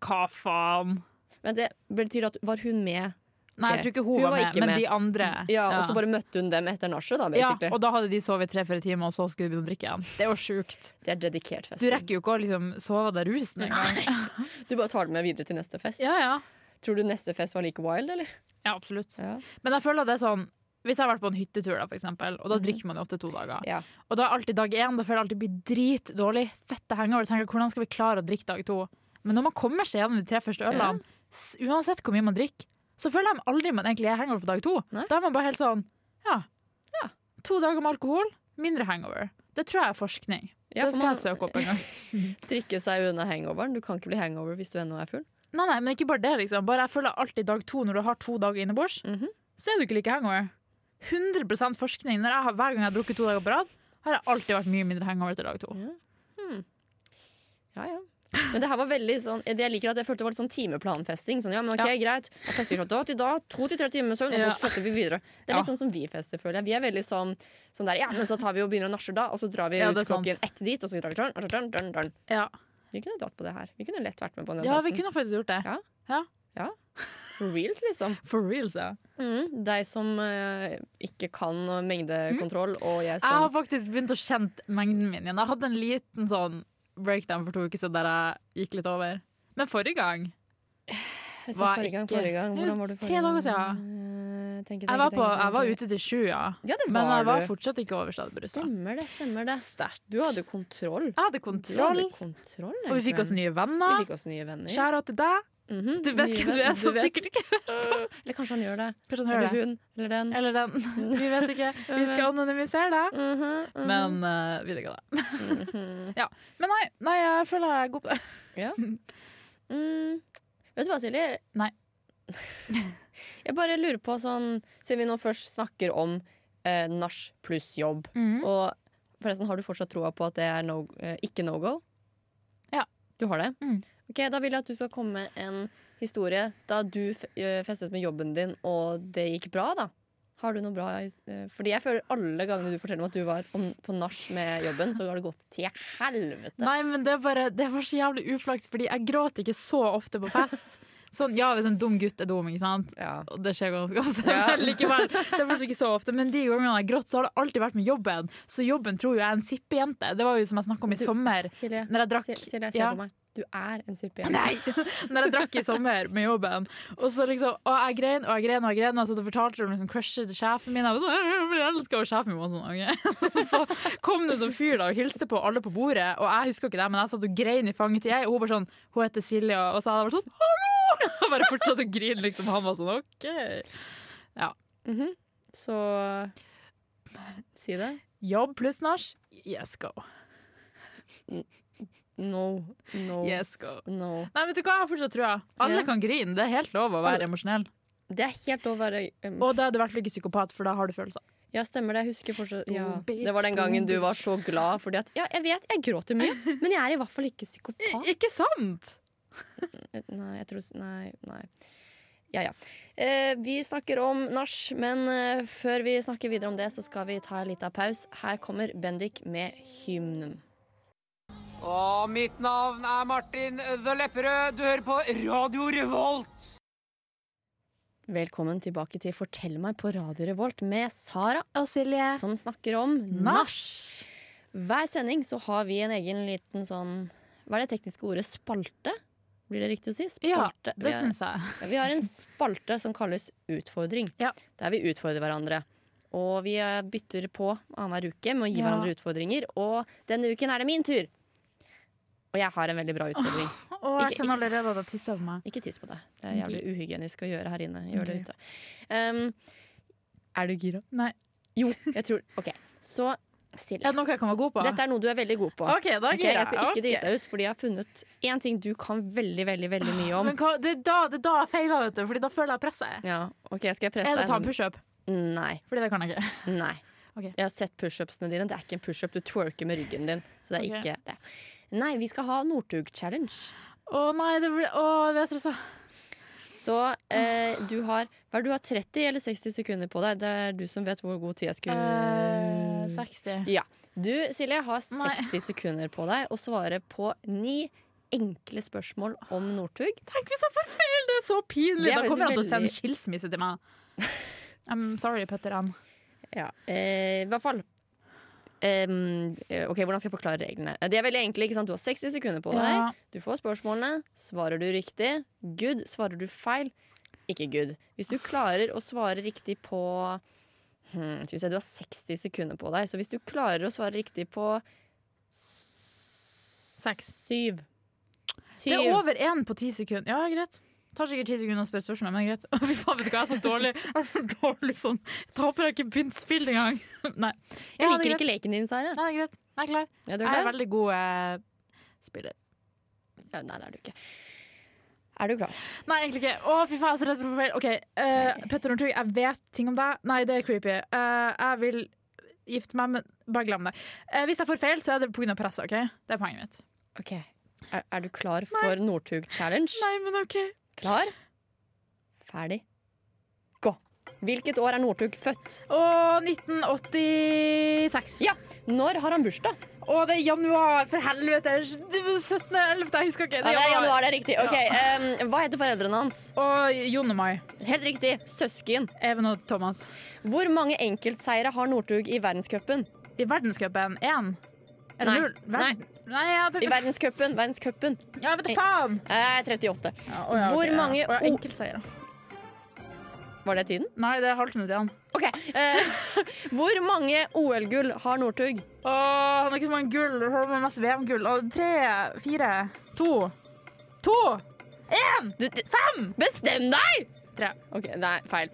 Speaker 2: Hva faen?
Speaker 1: Men det betyr at var hun med?
Speaker 2: Nei,
Speaker 1: Ok.
Speaker 2: jeg tror ikke hun,
Speaker 1: Hun
Speaker 2: var
Speaker 1: var
Speaker 2: med,
Speaker 1: ikke
Speaker 2: men
Speaker 1: med.
Speaker 2: de andre.
Speaker 1: Ja, Og så bare møtte hun dem etter nachet, da,
Speaker 2: ja,
Speaker 1: basically.
Speaker 2: og da hadde de sovet i tre-fire timer, og så skulle de begynne å drikke igjen. Det er jo sjukt.
Speaker 1: det er dedikert fest.
Speaker 2: Du rekker jo ikke å liksom sove av deg rusen engang.
Speaker 1: Du bare tar det med videre til neste fest.
Speaker 2: Ja, ja.
Speaker 1: Tror du neste fest var like wild, eller?
Speaker 2: ja, absolutt.
Speaker 1: Ja.
Speaker 2: Men jeg føler at det er sånn hvis jeg har vært på en hyttetur, da, for eksempel, og da drikker man jo ofte to dager.
Speaker 1: Mhm. Ja.
Speaker 2: Og da er alltid dag én. Da føler jeg alltid blir dritdårlig. Fette hangover. Tenker jeg, hvordan skal vi klare å drikke dag to? Men når man kommer seg gjennom de tre første ølene, s- uansett hvor mye man drikker, så føler jeg aldri man egentlig er hangover på dag to.
Speaker 1: Nei.
Speaker 2: Da er man bare helt sånn ja, ja. To dager med alkohol, mindre hangover. Det tror jeg er forskning.
Speaker 1: Ja,
Speaker 2: det
Speaker 1: for
Speaker 2: skal
Speaker 1: man-
Speaker 2: jeg søke opp en gang.
Speaker 1: Drikke seg unna hangoveren. Du kan ikke bli hangover hvis du ennå er full.
Speaker 2: Nei, nei, men ikke bare det, liksom. Bare jeg føler alltid dag to, når du har to dager innebords,
Speaker 1: Mhm.
Speaker 2: så er du ikke like hangover. 100 forskning. Når jeg, har- hver gang jeg har drukket to dager på rad, har jeg alltid vært mye mindre hangover etter dag to.
Speaker 1: Ja, ja. Men det her var veldig sånn det Jeg liker at jeg følte det var litt sånn timeplanfesting. Sånn, ja, men ok, greit Da fester vi fra da til da, to til tre timer søvn, og så
Speaker 2: Ja.
Speaker 1: fester vi videre. Det er
Speaker 2: Ja.
Speaker 1: litt sånn som vi fester, føler jeg. Vi er veldig sånn, sånn der Ja, men så tar vi og begynner å nasje da, og så drar vi
Speaker 2: Ja,
Speaker 1: ut
Speaker 2: det er sant.
Speaker 1: klokken ett dit, og så drar vi dørn, dørn, dørn, dørn, dørn.
Speaker 2: Ja,
Speaker 1: Vi kunne dratt på det her. Vi kunne lett vært med på den
Speaker 2: ja vi
Speaker 1: festen.
Speaker 2: kunne faktisk gjort det.
Speaker 1: Ja. For reals, liksom.
Speaker 2: For reals, ja. Mm.
Speaker 1: Deg som eh, ikke kan
Speaker 2: Mm.
Speaker 1: mengdekontroll, og jeg
Speaker 2: Jeg har
Speaker 1: som
Speaker 2: faktisk begynt å kjenne mengden min igjen. Jeg hadde en liten sånn breakdown for to uker siden der jeg gikk litt over. Men forrige gang
Speaker 1: Jeg sa
Speaker 2: var
Speaker 1: forrige gang,
Speaker 2: ikke-
Speaker 1: forrige gang. Hvordan var det
Speaker 2: Tre dager siden.
Speaker 1: Eh, tenke,
Speaker 2: Jeg
Speaker 1: tenke,
Speaker 2: var, på,
Speaker 1: tenke,
Speaker 2: jeg var
Speaker 1: tenke.
Speaker 2: ute til sju, ja.
Speaker 1: Ja, det var
Speaker 2: Men jeg var
Speaker 1: du.
Speaker 2: fortsatt ikke over stadbrusa.
Speaker 1: Stemmer det, stemmer det.
Speaker 2: Sterkt.
Speaker 1: Du hadde kontroll.
Speaker 2: Jeg hadde
Speaker 1: Du
Speaker 2: kontroll,
Speaker 1: hadde kontroll
Speaker 2: og vi fikk oss
Speaker 1: egentlig.
Speaker 2: nye
Speaker 1: Vi
Speaker 2: venner.
Speaker 1: fikk oss nye venner.
Speaker 2: Skjæra til deg.
Speaker 1: Mhm,
Speaker 2: Du vet
Speaker 1: nye
Speaker 2: hvem du
Speaker 1: venner.
Speaker 2: er, så
Speaker 1: vet-
Speaker 2: sikkert ikke.
Speaker 1: Eller kanskje han gjør det.
Speaker 2: Kanskje han
Speaker 1: Eller
Speaker 2: hører det.
Speaker 1: hun. Eller den.
Speaker 2: Eller den. Vi vet ikke. Vi skal anonymisere det.
Speaker 1: Mhm, mhm.
Speaker 2: Men uh, vi digger det. ja. Men nei, nei, jeg føler jeg er god på det.
Speaker 1: Mm. Vet du hva, Silje?
Speaker 2: Nei.
Speaker 1: jeg bare lurer på sånn Siden vi nå først snakker om eh, nach pluss jobb,
Speaker 2: Mm.
Speaker 1: og forresten, har du fortsatt troa på at det er no, eh, ikke no go?
Speaker 2: Ja.
Speaker 1: Du har det?
Speaker 2: Mm.
Speaker 1: Ok, Da vil jeg at du skal komme med en historie da du f eh, festet med jobben din, og det gikk bra, da. Har du noe bra his- eh, Fordi jeg føler alle gangene du forteller meg at du var på, på nach med jobben, så har det gått til helvete.
Speaker 2: Nei, men det er bare Det var så jævlig uflaks, fordi jeg gråter ikke så ofte på fest. Sånn, ja, hvis en dum gutt er dum, ikke sant?
Speaker 1: Ja.
Speaker 2: Og det skjer ganske ofte.
Speaker 1: Ja.
Speaker 2: Men likevel, det er faktisk ikke så ofte. Men de gangene jeg har grått, så har det alltid vært med jobben. Så jobben tror jo jeg er en sippejente. Det var jo som jeg snakka om i
Speaker 1: Du-
Speaker 2: sommer.
Speaker 1: Silje,
Speaker 2: Når jeg drakk-
Speaker 1: Si- Silje, se
Speaker 2: Ja.
Speaker 1: på meg. Du er en sippejente.
Speaker 2: Nei! Når jeg drakk i sommer med jobben. Og så liksom, og jeg grein og jeg grein og jeg grein. Og så fortalte de om liksom, crushet til sjefen min. Jeg var sånn, jeg blir elsket av sjefen min. Og sånn, ok. Så kom det en sånn fyr da og hilste på alle på bordet. Og jeg husker ikke det, men jeg satt og grein i fanget til jeg. Og hun bare sånn Hun heter Silje. Og så hadde jeg vært sånn Hallo! Og bare fortsatte å grine, liksom. Han var sånn OK.
Speaker 1: Mhm. Så si det.
Speaker 2: Jobb pluss nach. Yes, go.
Speaker 1: No, no,
Speaker 2: Yes, go.
Speaker 1: no.
Speaker 2: Nei, vet du hva jeg fortsatt tror? Alle
Speaker 1: Ja.
Speaker 2: kan grine. Det er helt lov å være emosjonell.
Speaker 1: Det er helt lov å være um,
Speaker 2: Og da er du i hvert fall ikke psykopat, for da har du følelser.
Speaker 1: Ja, stemmer det. Jeg husker fortsatt
Speaker 2: Boom,
Speaker 1: ja.
Speaker 2: bitch,
Speaker 1: Det var den
Speaker 2: boom,
Speaker 1: gangen du var
Speaker 2: bitch.
Speaker 1: så glad fordi at Ja, jeg vet, jeg gråter mye, men jeg er i hvert fall ikke psykopat.
Speaker 2: Ikke sant?
Speaker 1: Nei, jeg tror Nei, nei. Ja, ja. Eh, vi snakker om nach, men eh, før vi snakker videre om det, så skal vi ta en liten pause. Her kommer Bendik med hymnen.
Speaker 7: Og mitt navn er Martin The Lepperød. Du hører på Radio Revolt.
Speaker 1: Velkommen tilbake til Fortell meg på Radio Revolt med Sara,
Speaker 2: Og Silje
Speaker 1: som snakker om nach.
Speaker 2: Nach.
Speaker 1: Hver sending så har vi en egen liten sånn Hva er det tekniske ordet? Spalte? Blir det riktig å si?
Speaker 2: Ja,
Speaker 1: Spalte. Vi
Speaker 2: det
Speaker 1: er-
Speaker 2: syns jeg.
Speaker 1: Ja, Vi har en spalte som kalles Utfordring.
Speaker 2: Ja.
Speaker 1: Der vi utfordrer hverandre. Og vi eh, bytter på annenhver uke med å gi
Speaker 2: Ja.
Speaker 1: hverandre utfordringer. Og denne uken er det min tur! Og jeg har en veldig bra utfordring.
Speaker 2: Og
Speaker 1: Ikke-
Speaker 2: jeg kjenner allerede at jeg tisser på meg.
Speaker 1: Ikke tiss på deg. Det er jævlig uhygienisk å gjøre her inne. Gjør det ute. Um, er du gira?
Speaker 2: Nei.
Speaker 1: Jo, jeg tror OK. Så Silje.
Speaker 2: Er det noe jeg kan være god på?
Speaker 1: Dette er noe du er veldig god på.
Speaker 2: OK, da
Speaker 1: Ok,
Speaker 2: gir
Speaker 1: jeg skal ikke
Speaker 2: Ok.
Speaker 1: drite deg ut, fordi jeg har funnet én ting du kan veldig veldig, veldig mye om.
Speaker 2: Men hva, det, er da, det er da jeg feiler, vet du, Fordi da føler jeg presset.
Speaker 1: Ja, ok, Skal jeg presse
Speaker 2: Er det å ta en
Speaker 1: deg?
Speaker 2: pushup?
Speaker 1: Nei.
Speaker 2: Fordi det kan jeg ikke.
Speaker 1: Nei.
Speaker 2: Ok.
Speaker 1: Jeg har sett pushupsene dine. Det er ikke en pushup. Du twerker med ryggen din. Så det er
Speaker 2: Ok.
Speaker 1: ikke det. Nei, vi skal ha Northug-challenge.
Speaker 2: Å nei, det blir, å, jeg blir stressa.
Speaker 1: Så eh,
Speaker 2: Ah.
Speaker 1: du har Hva er det du har 30 eller 60 sekunder på deg? Det er du som vet hvor god tid jeg
Speaker 2: Eh,
Speaker 1: skulle
Speaker 2: 60.
Speaker 1: Ja. Du, Silje, har
Speaker 2: Nei.
Speaker 1: 60 sekunder på deg å svare på ni enkle spørsmål om Northug.
Speaker 2: Tenk hvis jeg får feil! Det er så pinlig!
Speaker 1: Det er
Speaker 2: Da kommer han til å
Speaker 1: faktisk
Speaker 2: sende
Speaker 1: veldig-
Speaker 2: skilsmisse til meg. I'm sorry, Petter Ann.
Speaker 1: Ja, eh, I hvert fall. Em, eh, ok, Hvordan skal jeg forklare reglene? Eh, Det er veldig enkelt, ikke sant? Du har 60 sekunder på deg.
Speaker 2: Ja.
Speaker 1: Du får spørsmålene. Svarer du riktig, good. Svarer du feil, ikke good. Hvis du klarer å svare riktig på hmm, skal vi se, Du har 60 sekunder på deg, så hvis du klarer å svare riktig på
Speaker 2: Seks.
Speaker 1: syv
Speaker 2: Det
Speaker 1: Syv.
Speaker 2: er over én på ti sekunder. Ja, greit. Tar sikkert ti sekunder å spørre spørsmål, men greit. Å, Fy faen, vet du hva, jeg er så dårlig. Jeg er så dårlig sånn. Jeg Taper jeg ikke begynt spill engang. Nei.
Speaker 1: Jeg
Speaker 2: Ja, det er
Speaker 1: liker
Speaker 2: greit.
Speaker 1: ikke leken din, Sara.
Speaker 2: Nei, det er greit. Jeg er klar.
Speaker 1: Ja, du er
Speaker 2: Jeg er
Speaker 1: klar?
Speaker 2: veldig god eh, spiller.
Speaker 1: Ja, nei, det er du ikke. Er du klar?
Speaker 2: Nei, egentlig ikke. Å, fy faen, jeg er så redd for å få feil. OK, eh, Petter Northug, jeg vet ting om deg. Nei, det er creepy. Eh, jeg vil gifte meg, men bare glem det. Eh, hvis jeg får feil, så er det pga. presset, OK? Det er poenget mitt.
Speaker 1: Ok, Er, er du klar for Northug Challenge?
Speaker 2: Nei, men OK.
Speaker 1: Klar, ferdig, gå. Hvilket år er Northug født?
Speaker 2: Å, 1986.
Speaker 1: Ja, Når har han bursdag?
Speaker 2: Å, det er januar, for helvete! 17. 11. Jeg husker ikke.
Speaker 1: Ja, det er januar, det er riktig. Ok, ehm, Hva heter foreldrene hans?
Speaker 2: Og Jon og Mai.
Speaker 1: Helt riktig, søsken.
Speaker 2: Even og Thomas.
Speaker 1: Hvor mange enkeltseire har Northug i verdenscupen?
Speaker 2: I verdenscupen én. Eller
Speaker 1: Nei.
Speaker 2: null? Verd- Nei, jeg
Speaker 1: I
Speaker 2: tenkte
Speaker 1: verdenscupen, verdenscupen.
Speaker 2: Ja, vet du faen!
Speaker 1: Eh, 38.
Speaker 2: Ja, å, ja, ok,
Speaker 1: Hvor
Speaker 2: ja.
Speaker 1: mange
Speaker 2: Å, ja,
Speaker 1: o-
Speaker 2: Enkeltseier.
Speaker 1: Var det tiden?
Speaker 2: Nei, det er halvt minutt igjen.
Speaker 1: Ok. eh, hvor mange OL-gull har Northug?
Speaker 2: Å, han har ikke så mange gull. Han har mest VM-gull. Å, Tre, fire, to To!
Speaker 1: Du- du- Bestem deg!
Speaker 2: Tre.
Speaker 1: Ok, Nei, feil.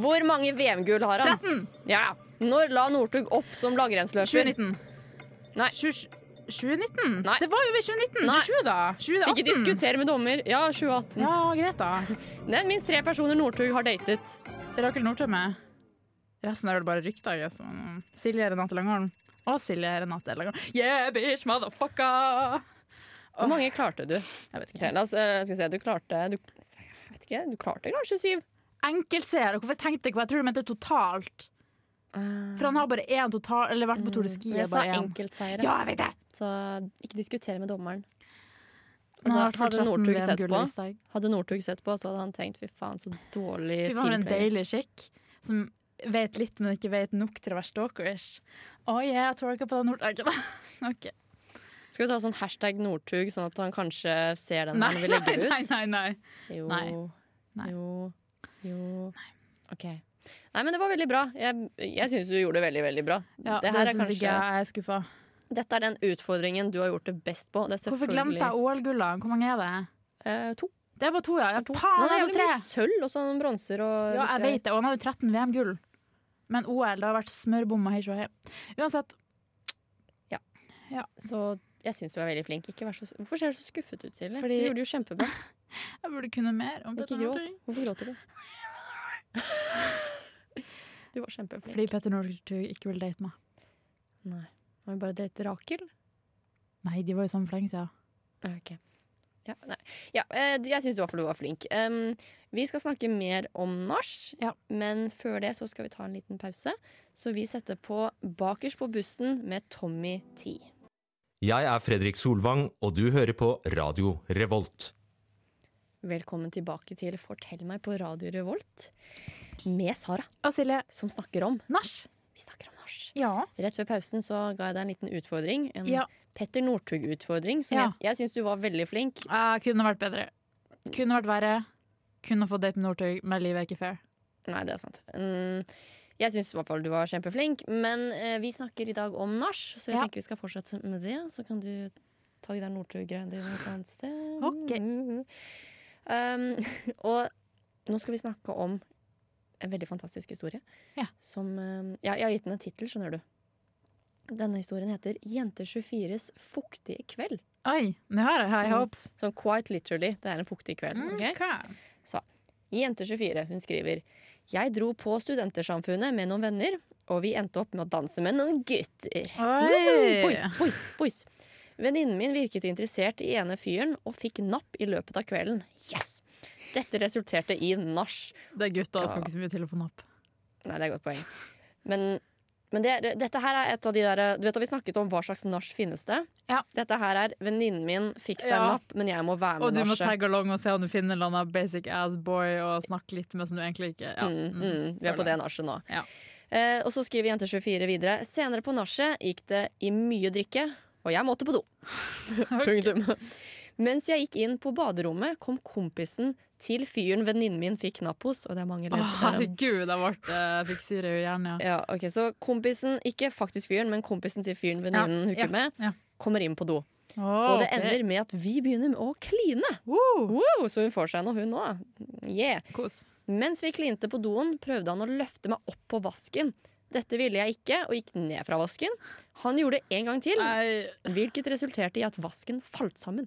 Speaker 1: Hvor mange VM-gull har han?
Speaker 2: 13!
Speaker 1: Ja. Når la Northug opp som langrennsløper?
Speaker 2: 2019.
Speaker 1: Nei.
Speaker 2: 2019?
Speaker 1: Nei.
Speaker 2: Det var jo ved 2019.
Speaker 1: Nei.
Speaker 2: 27, da. 2018.
Speaker 1: Ikke diskuter med dommer. Ja, 2018.
Speaker 2: Ja, greit, da.
Speaker 1: Nevn minst tre personer Northug har datet.
Speaker 2: Rakel Nordtømme. Resten er vel bare rykter. jeg, så- Silje Renate Langholm. Og Silje Renate Langholm. Yeah, bitch, motherfucker!
Speaker 1: Hvor mange klarte du? Jeg vet ikke. La oss, eh, skal vi se, du klarte du, jeg vet ikke, du klarte kanskje syv?
Speaker 2: Enkeltseer. og Hvorfor tenkte jeg ikke på Jeg tror de mente totalt. For han har bare én total Eller vært på Tour de Ski.
Speaker 1: Mm,
Speaker 2: altså
Speaker 1: Jeg
Speaker 2: er
Speaker 1: sa altså,
Speaker 2: bare én.
Speaker 1: enkeltseire,
Speaker 2: Ja, jeg vet det!
Speaker 1: så ikke diskutere med dommeren. Altså,
Speaker 2: Nei, jeg har
Speaker 1: hadde
Speaker 2: fortsatt
Speaker 1: Northug
Speaker 2: med en
Speaker 1: sett på?
Speaker 2: gullistdag.
Speaker 1: Hadde Northug sett på, så hadde han tenkt fy faen, så dårlig
Speaker 2: Fy faen, for en
Speaker 1: teamplayer.
Speaker 2: deilig skikk som vet litt, men ikke vet nok til å være stalkerish. Å oh, yeah, jeg twerka på den Northug. Ok.
Speaker 1: Skal vi ta sånn hashtag Northug, sånn at han kanskje ser den
Speaker 2: Nei,
Speaker 1: han vil
Speaker 2: nei,
Speaker 1: legge ut?
Speaker 2: nei, nei, nei.
Speaker 1: Jo.
Speaker 2: Nei. Nei.
Speaker 1: Jo. Jo. OK. Nei, men det var veldig bra. Jeg, jeg syns du gjorde det veldig, veldig bra.
Speaker 2: Ja,
Speaker 1: det
Speaker 2: det
Speaker 1: her er
Speaker 2: syns
Speaker 1: kanskje,
Speaker 2: ikke jeg er skuffa.
Speaker 1: Dette er den utfordringen du har gjort det best på. Det er
Speaker 2: Hvorfor
Speaker 1: selvfølgelig
Speaker 2: glemte jeg OL-gullene? Hvor mange er det?
Speaker 1: Eh, to.
Speaker 2: Det er bare to, ja. ja
Speaker 1: Nei,
Speaker 2: Faen,
Speaker 1: det
Speaker 2: jeg
Speaker 1: er
Speaker 2: så
Speaker 1: jævlig
Speaker 2: tre!
Speaker 1: mye sølv og sånn bronser og
Speaker 2: Ja, jeg vet det. Og han har jo 13 VM-gull. Men OL, det har vært smørbomma hei sjå hei. Uansett.
Speaker 1: Så jeg syns du er veldig flink. Ikke vær så, hvorfor ser du så skuffet ut, Silje?
Speaker 2: Fordi-
Speaker 1: Du gjorde det jo kjempebra.
Speaker 2: Jeg burde kunne mer om
Speaker 1: Ikke
Speaker 2: Petter
Speaker 1: gråt.
Speaker 2: Northug.
Speaker 1: Hvorfor gråter du? Du var kjempeflink.
Speaker 2: Fordi Petter Northug ikke vil date meg.
Speaker 1: Nei. Har vi bare date Rakel?
Speaker 2: Nei, de var jo sammen for lenge siden.
Speaker 1: Ah, Ok. Ja, nei. ja, eh, du- jeg syns i hvert fall du var flink. Em, vi skal snakke mer om nach,
Speaker 2: Ja.
Speaker 1: men før det så skal vi ta en liten pause. Så vi setter på Bakers på bussen med Tommy T.
Speaker 8: Jeg er Fredrik Solvang, og du hører på Radio Revolt.
Speaker 1: Velkommen tilbake til Fortell meg på Radio Revolt med Sara,
Speaker 2: Og Silje,
Speaker 1: som snakker om
Speaker 2: nach.
Speaker 1: Vi snakker om nach.
Speaker 2: Ja.
Speaker 1: Rett før pausen så ga jeg deg en liten utfordring. En
Speaker 2: Ja.
Speaker 1: Petter Northug-utfordring. Som
Speaker 2: Ja.
Speaker 1: jeg, jeg syns du var veldig flink.
Speaker 2: Jeg kunne vært bedre. Kunne vært verre. Kunne fått date med Northug, men livet er ikke fair.
Speaker 1: Nei, det er sant. Mm, jeg syns i hvert fall du var kjempeflink, men eh, vi snakker i dag om nach, så jeg
Speaker 2: Ja.
Speaker 1: tenker vi skal fortsette med det. Så kan du ta de der Northug-greiene dine et annet sted.
Speaker 2: Ok.
Speaker 1: Mm. Um, og nå skal vi snakke om en veldig fantastisk historie.
Speaker 2: Ja.
Speaker 1: Som eh, Ja, jeg har gitt den en tittel, skjønner du. Denne historien heter 'Jente24s fuktige kveld'.
Speaker 2: Oi, nå har jeg high hopes. Mm,
Speaker 1: Sånn quite literally. Det er en fuktig kveld. ok?
Speaker 2: Ok.
Speaker 1: Jente24 hun skriver Jeg dro på studentersamfunnet med noen venner, og vi endte opp med å danse med noen gutter.
Speaker 2: Oi.
Speaker 1: Boys, boys, boys. Venninnen min virket interessert i ene fyren og fikk napp i løpet av kvelden. Yes! Dette resulterte i nach.
Speaker 2: Det er gutta,
Speaker 1: Ja.
Speaker 2: skal ikke så mye til å få napp.
Speaker 1: Nei, det er et godt poeng. Men, men det, dette her er et av de der Du vet da vi snakket om hva slags nach finnes det?
Speaker 2: Ja.
Speaker 1: Dette her er venninnen min fikk seg
Speaker 2: Ja.
Speaker 1: napp, men jeg må være
Speaker 2: Og
Speaker 1: med
Speaker 2: du må
Speaker 1: nachet.
Speaker 2: tagge along og se om du finner en eller annen basic ass boy og snakke litt med som du egentlig ikke ja.
Speaker 1: Mm, mm, vi er på det nachet nå.
Speaker 2: Ja.
Speaker 1: Eh, og så skriver Jente24 videre. Senere på nachet gikk det i mye drikke, og jeg måtte på do. Punktum. Mens jeg gikk inn på baderommet, kom kompisen til fyren venninnen min fikk napp hos. Og det er mange
Speaker 2: Å,
Speaker 1: ledd der.
Speaker 2: herregud, jeg ble jeg fikk syre i hjernen, ja.
Speaker 1: Ja, ok, Så kompisen, ikke faktisk fyren, men kompisen til fyren venninnen
Speaker 2: Ja,
Speaker 1: hooker med,
Speaker 2: ja.
Speaker 1: kommer inn på do.
Speaker 2: Å,
Speaker 1: Og det
Speaker 2: ok.
Speaker 1: ender med at vi begynner med å kline.
Speaker 2: Wow,
Speaker 1: Wow, så hun får seg noe, hun òg. Yeah.
Speaker 2: kos.
Speaker 1: Mens vi klinte på doen, prøvde han å løfte meg opp på vasken. Dette ville jeg ikke, og gikk ned fra vasken. Han gjorde det en gang til,
Speaker 2: Nei. Ah!
Speaker 1: hvilket resulterte i at vasken falt sammen.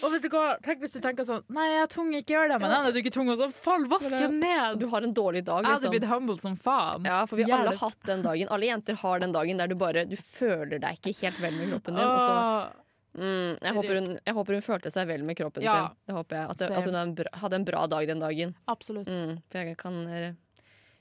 Speaker 2: Og vet du hva, tenk hvis du tenker sånn Nei, jeg er tung, ikke gjør det. Men nei, du er ikke tung, og så fall vasken ned!
Speaker 1: Du har en dårlig dag,
Speaker 2: Jeg hadde blitt
Speaker 1: liksom.
Speaker 2: humbled som faen.
Speaker 1: Ja, for vi har alle
Speaker 2: Jævlig.
Speaker 1: hatt den dagen. Alle jenter har den dagen der du bare Du føler deg ikke helt vel med kroppen din. Og så,
Speaker 2: Åh.
Speaker 1: mm, jeg, håper hun, jeg håper hun følte seg vel med kroppen
Speaker 2: Ja.
Speaker 1: sin. Det håper jeg. At, at hun hadde en bra- hadde en bra dag den dagen.
Speaker 2: Absolutt.
Speaker 1: Mm, for jeg kan eh,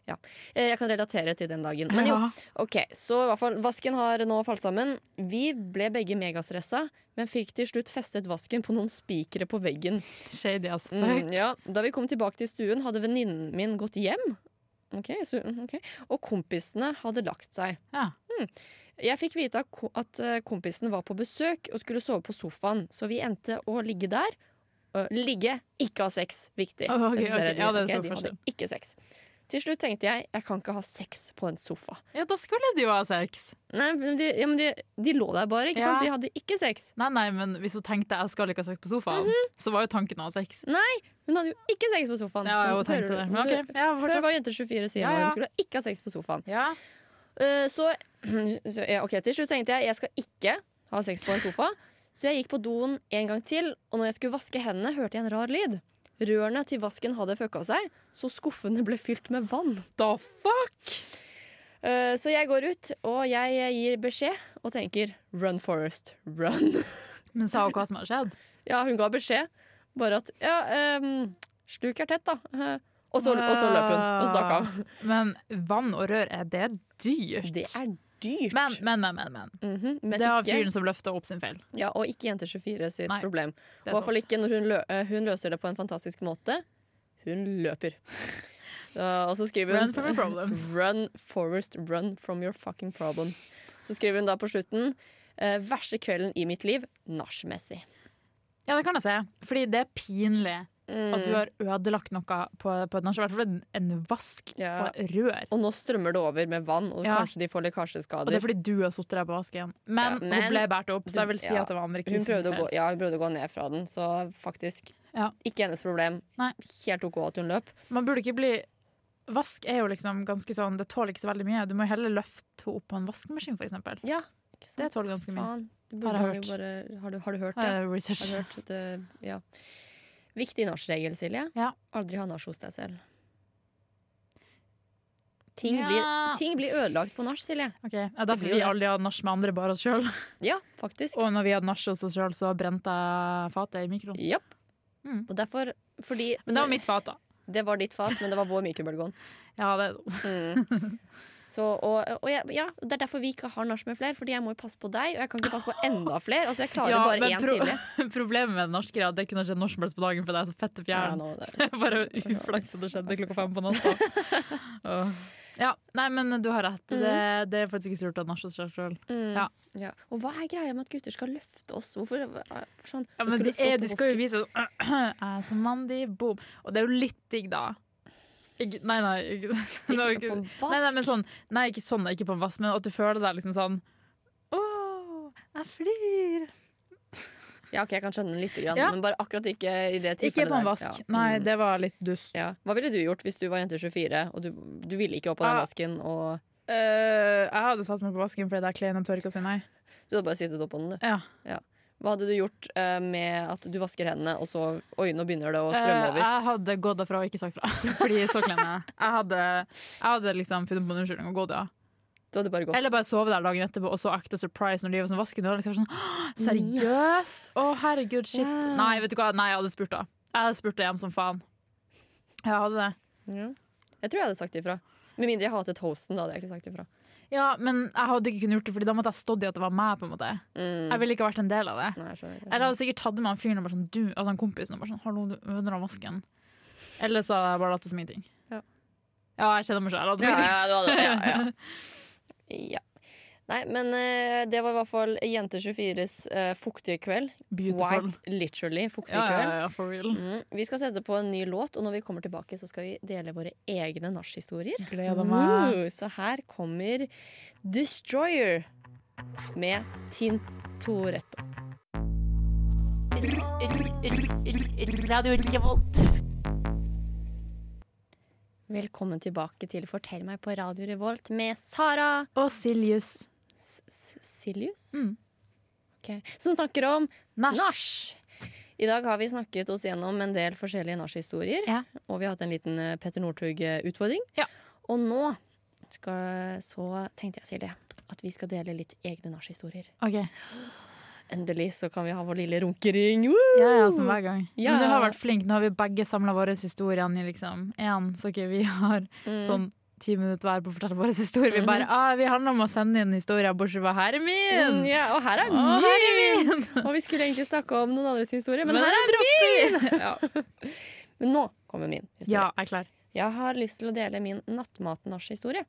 Speaker 1: Ja. Eh, Jeg kan relatere til den dagen. Men jo,
Speaker 2: Ja.
Speaker 1: Ok, så i hvert fall Vasken har nå falt sammen. Vi ble begge megastressa, men fikk til slutt festet vasken på noen spikere på veggen.
Speaker 2: Shady as fuck.
Speaker 1: Mm, ja. Da vi kom tilbake til stuen, hadde venninnen min gått hjem. Ok, så, mm, ok. Og kompisene hadde lagt seg. Mm.
Speaker 2: Ja.
Speaker 1: Jeg fikk vite at ko- at eh, kompisen var på besøk og skulle sove på sofaen, så vi endte å ligge der. Ø, ligge, ikke ha sex. Viktig.
Speaker 2: Å, ok,
Speaker 1: Dette ser jeg-
Speaker 2: ok. Ja, det er
Speaker 1: ok,
Speaker 2: så
Speaker 1: de hadde
Speaker 2: forskjell.
Speaker 1: ikke sex. Til slutt tenkte jeg jeg kan ikke ha sex på en sofa.
Speaker 2: ja, da skulle de jo ha sex.
Speaker 1: Nei, men de, ja, men de, de lå der bare, ikke
Speaker 2: Ja.
Speaker 1: sant? De hadde ikke sex.
Speaker 2: Nei, nei, men hvis hun tenkte jeg skal ikke ha sex på sofaen,
Speaker 1: Mhm.
Speaker 2: så var jo tanken å ha sex.
Speaker 1: Hun hadde jo ikke sex på sofaen.
Speaker 2: Ja, hun
Speaker 1: sånn Hører
Speaker 2: tenkte det.
Speaker 1: du?
Speaker 2: Men ok, ja,
Speaker 1: Før
Speaker 2: fortsatt.
Speaker 1: var jenter 24 sier
Speaker 2: Ja,
Speaker 1: ja,
Speaker 2: ja.
Speaker 1: hun skulle ikke ha sex på sofaen.
Speaker 2: Ja.
Speaker 1: Eh, så, så ja, ok, til slutt tenkte jeg jeg skal ikke ha sex på en sofa. Så jeg gikk på doen en gang til, og når jeg skulle vaske hendene, hørte jeg en rar lyd. Rørene til vasken hadde fucka seg, så skuffene ble fylt med vann.
Speaker 2: Da fuck!
Speaker 1: Eh, så jeg går ut, og jeg gir beskjed og tenker 'run, Forest, run'.
Speaker 2: Men sa hun hva som hadde skjedd?
Speaker 1: Ja, hun ga beskjed. Bare at ja, ehm, sluk er tett, da. Eh, Og så, og så løp hun og stakk av.
Speaker 2: Men vann og rør, er Ah, det dyrt?
Speaker 1: Det er dyrt.
Speaker 2: Men, men, men. men, men.
Speaker 1: Mhm, men
Speaker 2: det har
Speaker 1: ikke-
Speaker 2: fyren som løfta opp sin feil.
Speaker 1: Ja, og ikke Jente24 sitt
Speaker 2: Nei,
Speaker 1: problem.
Speaker 2: Det
Speaker 1: Og i
Speaker 2: er
Speaker 1: hvert fall
Speaker 2: sant.
Speaker 1: ikke når hun, lø eh, hun løser det på en fantastisk måte. Hun løper. Så, og så skriver hun
Speaker 2: Run from your problems.
Speaker 1: Run, Forrest, run from your fucking problems. Så skriver hun da på slutten eh, verste kvelden i mitt liv nachmessig.
Speaker 2: Ja, det kan jeg se. Fordi det er pinlig at
Speaker 1: Mm.
Speaker 2: du har ødelagt noe på, på et nachspiel. I hvert fall en- en vask
Speaker 1: Ja.
Speaker 2: og et rør.
Speaker 1: Og nå strømmer det over med vann, og
Speaker 2: Ja.
Speaker 1: kanskje de får
Speaker 2: Og det er
Speaker 1: lekkasjeskader.
Speaker 2: fordi du har sittet der på vasken. Men,
Speaker 1: Ja, men-
Speaker 2: hun ble båret opp, så jeg vil si
Speaker 1: Ja.
Speaker 2: at det var andre
Speaker 1: Hun
Speaker 2: kisen
Speaker 1: prøvde, å
Speaker 2: feil.
Speaker 1: gå, ja, hun prøvde å gå ned fra den, så faktisk
Speaker 2: Ja.
Speaker 1: ikke hennes problem.
Speaker 2: Nei.
Speaker 1: Helt OK at hun løp.
Speaker 2: Man burde ikke bli Vask er jo liksom ganske sånn, det tåler ikke så veldig mye. Du må jo heller løfte henne opp på en vaskemaskin, for eksempel.
Speaker 1: Ja, ikke
Speaker 2: Det
Speaker 1: sant?
Speaker 2: tåler ganske mye.
Speaker 1: Faen. Du burde
Speaker 2: Har jeg
Speaker 1: har,
Speaker 2: hørt.
Speaker 1: jo bare, har, du, har du hørt det?
Speaker 2: Har jeg research.
Speaker 1: Har du hørt det? Ja. Viktig nachregel, Silje.
Speaker 2: Ja.
Speaker 1: Aldri ha nach hos deg selv. Ting,
Speaker 2: Ja.
Speaker 1: blir, ting blir ødelagt på nach, Silje.
Speaker 2: Ok, ja,
Speaker 1: Det
Speaker 2: Derfor
Speaker 1: blir jo
Speaker 2: vi
Speaker 1: det.
Speaker 2: aldri hadde nach med andre, bare oss sjøl.
Speaker 1: Ja, faktisk.
Speaker 2: Og når vi hadde nach hos oss sjøl, så brente jeg fatet i mikroen.
Speaker 1: Japp.
Speaker 2: Mm.
Speaker 1: Og derfor Fordi
Speaker 2: Men det var mitt fat, da.
Speaker 1: det var ditt fat, men det var vår mikrobølgeovn.
Speaker 2: Ja, det,
Speaker 1: Mm. Så, og, og jeg, ja, det er derfor vi ikke har nach med flere, fordi jeg må jo passe på deg, og jeg kan ikke passe på enda flere. Altså, jeg klarer
Speaker 2: Ja,
Speaker 1: bare
Speaker 2: men
Speaker 1: én
Speaker 2: pro-
Speaker 1: Silje.
Speaker 2: Problemet med det norske er at det kunne skjedd når som helst på dagen, for det er så fette
Speaker 1: Ja,
Speaker 2: fjern.
Speaker 1: nå, det er-
Speaker 2: Det er Bare uflaks at det skjedde klokka fem på natta. Åh. Ja, nei, men du har rett. Det,
Speaker 1: Mhm.
Speaker 2: det er faktisk ikke så lurt å ha nach hos seg sjøl.
Speaker 1: Mm.
Speaker 2: Ja.
Speaker 1: Ja. Og hva er greia med at gutter skal løfte oss? Hvorfor eh, sånn,
Speaker 2: Ja,
Speaker 1: vi skal
Speaker 2: men de,
Speaker 1: løfte opp
Speaker 2: er,
Speaker 1: på
Speaker 2: de skal jo
Speaker 1: vasken.
Speaker 2: vise sånn «Jeg er som Mandy, boom. Og det er jo litt digg, da. Ikke, nei, nei. Ikke, det var
Speaker 1: Ikke på en vask.
Speaker 2: Nei, nei, men sånn, nei, ikke sånn, ikke på en vass, men at du føler deg liksom sånn Åh, jeg flyr.
Speaker 1: Ja, ok, jeg kan skjønne den litt, grann,
Speaker 2: Ja.
Speaker 1: men bare akkurat ikke i det tilfellet.
Speaker 2: Ikke på en
Speaker 1: der.
Speaker 2: vask.
Speaker 1: Ja.
Speaker 2: Nei,
Speaker 1: Mm.
Speaker 2: det var litt dust.
Speaker 1: ja. Hva ville du gjort hvis du var jente 24 og du, du ville ikke opp på den
Speaker 2: Ah.
Speaker 1: vasken? Og,
Speaker 2: Eh, jeg hadde satt meg på vasken fordi det er klein og tørk å si nei.
Speaker 1: så du hadde bare sittet opp på den, du.
Speaker 2: Ja.
Speaker 1: Hva hadde du gjort eh, med at du vasker hendene, og så Oi, nå begynner det å strømme
Speaker 2: Eh,
Speaker 1: over.
Speaker 2: jeg hadde gått derfra og ikke sagt fra. Fordi så klein er jeg. Jeg hadde, jeg hadde liksom funnet på en unnskyldning og gått, ja.
Speaker 1: Du hadde bare gått.
Speaker 2: Eller bare sove der dagen etterpå og så act a surprise når de var sånn vasken. Og liksom sånn, «Åh, seriøst? Å, herregud, shit.
Speaker 1: Ja.
Speaker 2: Nei, vet du hva? Nei, jeg hadde spurt da. Jeg hadde spurt hjem som faen. Jeg hadde det.
Speaker 1: Ja. Jeg tror jeg hadde sagt ifra. Med mindre jeg hatet hosten, da hadde jeg ikke sagt ifra.
Speaker 2: Ja, men jeg hadde ikke kunnet gjort det, Fordi da måtte jeg stått i at det var meg. på en måte
Speaker 1: Mm.
Speaker 2: Jeg ville ikke vært en del av det.
Speaker 1: Nei, jeg skjønner.
Speaker 2: Eller jeg hadde sikkert tatt med han fyren og bare sånn, du, altså han kompisen og bare sånn, hallo, du ødela vasken. Eller så hadde jeg bare latt det som ingenting.
Speaker 1: Ja.
Speaker 2: Ja, jeg kjenner meg sjøl.
Speaker 1: Ja, ja, det var det. Ja, ja. ja. Nei, men eh, det var i hvert fall Jente24s eh, fuktige kveld.
Speaker 2: Beautiful.
Speaker 1: White literally fuktig
Speaker 2: Ja, ja,
Speaker 1: kveld.
Speaker 2: ja, for real.
Speaker 1: Mm. Vi skal sette på en ny låt, og når vi kommer tilbake, så skal vi dele våre egne nachhistorier.
Speaker 2: Gleder meg.
Speaker 1: Woo! Så her kommer Destroyer med Tintoretto. Velkommen tilbake til Fortell meg på Radio Revolt med Sara
Speaker 2: Og Siljus.
Speaker 1: S- S- Silius.
Speaker 2: Mm.
Speaker 1: Ok. Som snakker om
Speaker 2: Nach.
Speaker 1: Nach. I dag har vi snakket oss gjennom en del forskjellige nachhistorier.
Speaker 2: Ja.
Speaker 1: Og vi har hatt en liten eh, Petter Northug-utfordring.
Speaker 2: Ja.
Speaker 1: Og nå skal, så tenkte jeg, Silje, at vi skal dele litt egne nachhistorier.
Speaker 2: Ok,
Speaker 1: Endelig så kan vi ha vår lille runkering. Woo!
Speaker 2: ja, ja, som hver gang.
Speaker 1: Ja.
Speaker 2: Men du har vært flink. Nå har vi begge samla våre historier i liksom én. Så ok, vi har
Speaker 1: Mm.
Speaker 2: sånn ti minutter hver på å fortelle våre historier. Vi bare, ah, vi handler om å sende inn historier, bortsett fra her er
Speaker 1: Mm,
Speaker 2: min!
Speaker 1: Ja, og her er
Speaker 2: Å, her er
Speaker 1: min!
Speaker 2: min!
Speaker 1: Og vi skulle egentlig snakke om noen andres historie, men,
Speaker 2: Men
Speaker 1: her er min!
Speaker 2: Ja.
Speaker 1: Men nå kommer min historie.
Speaker 2: ja, jeg er klar.
Speaker 1: Jeg har lyst til å dele min nattmat-nach-historie.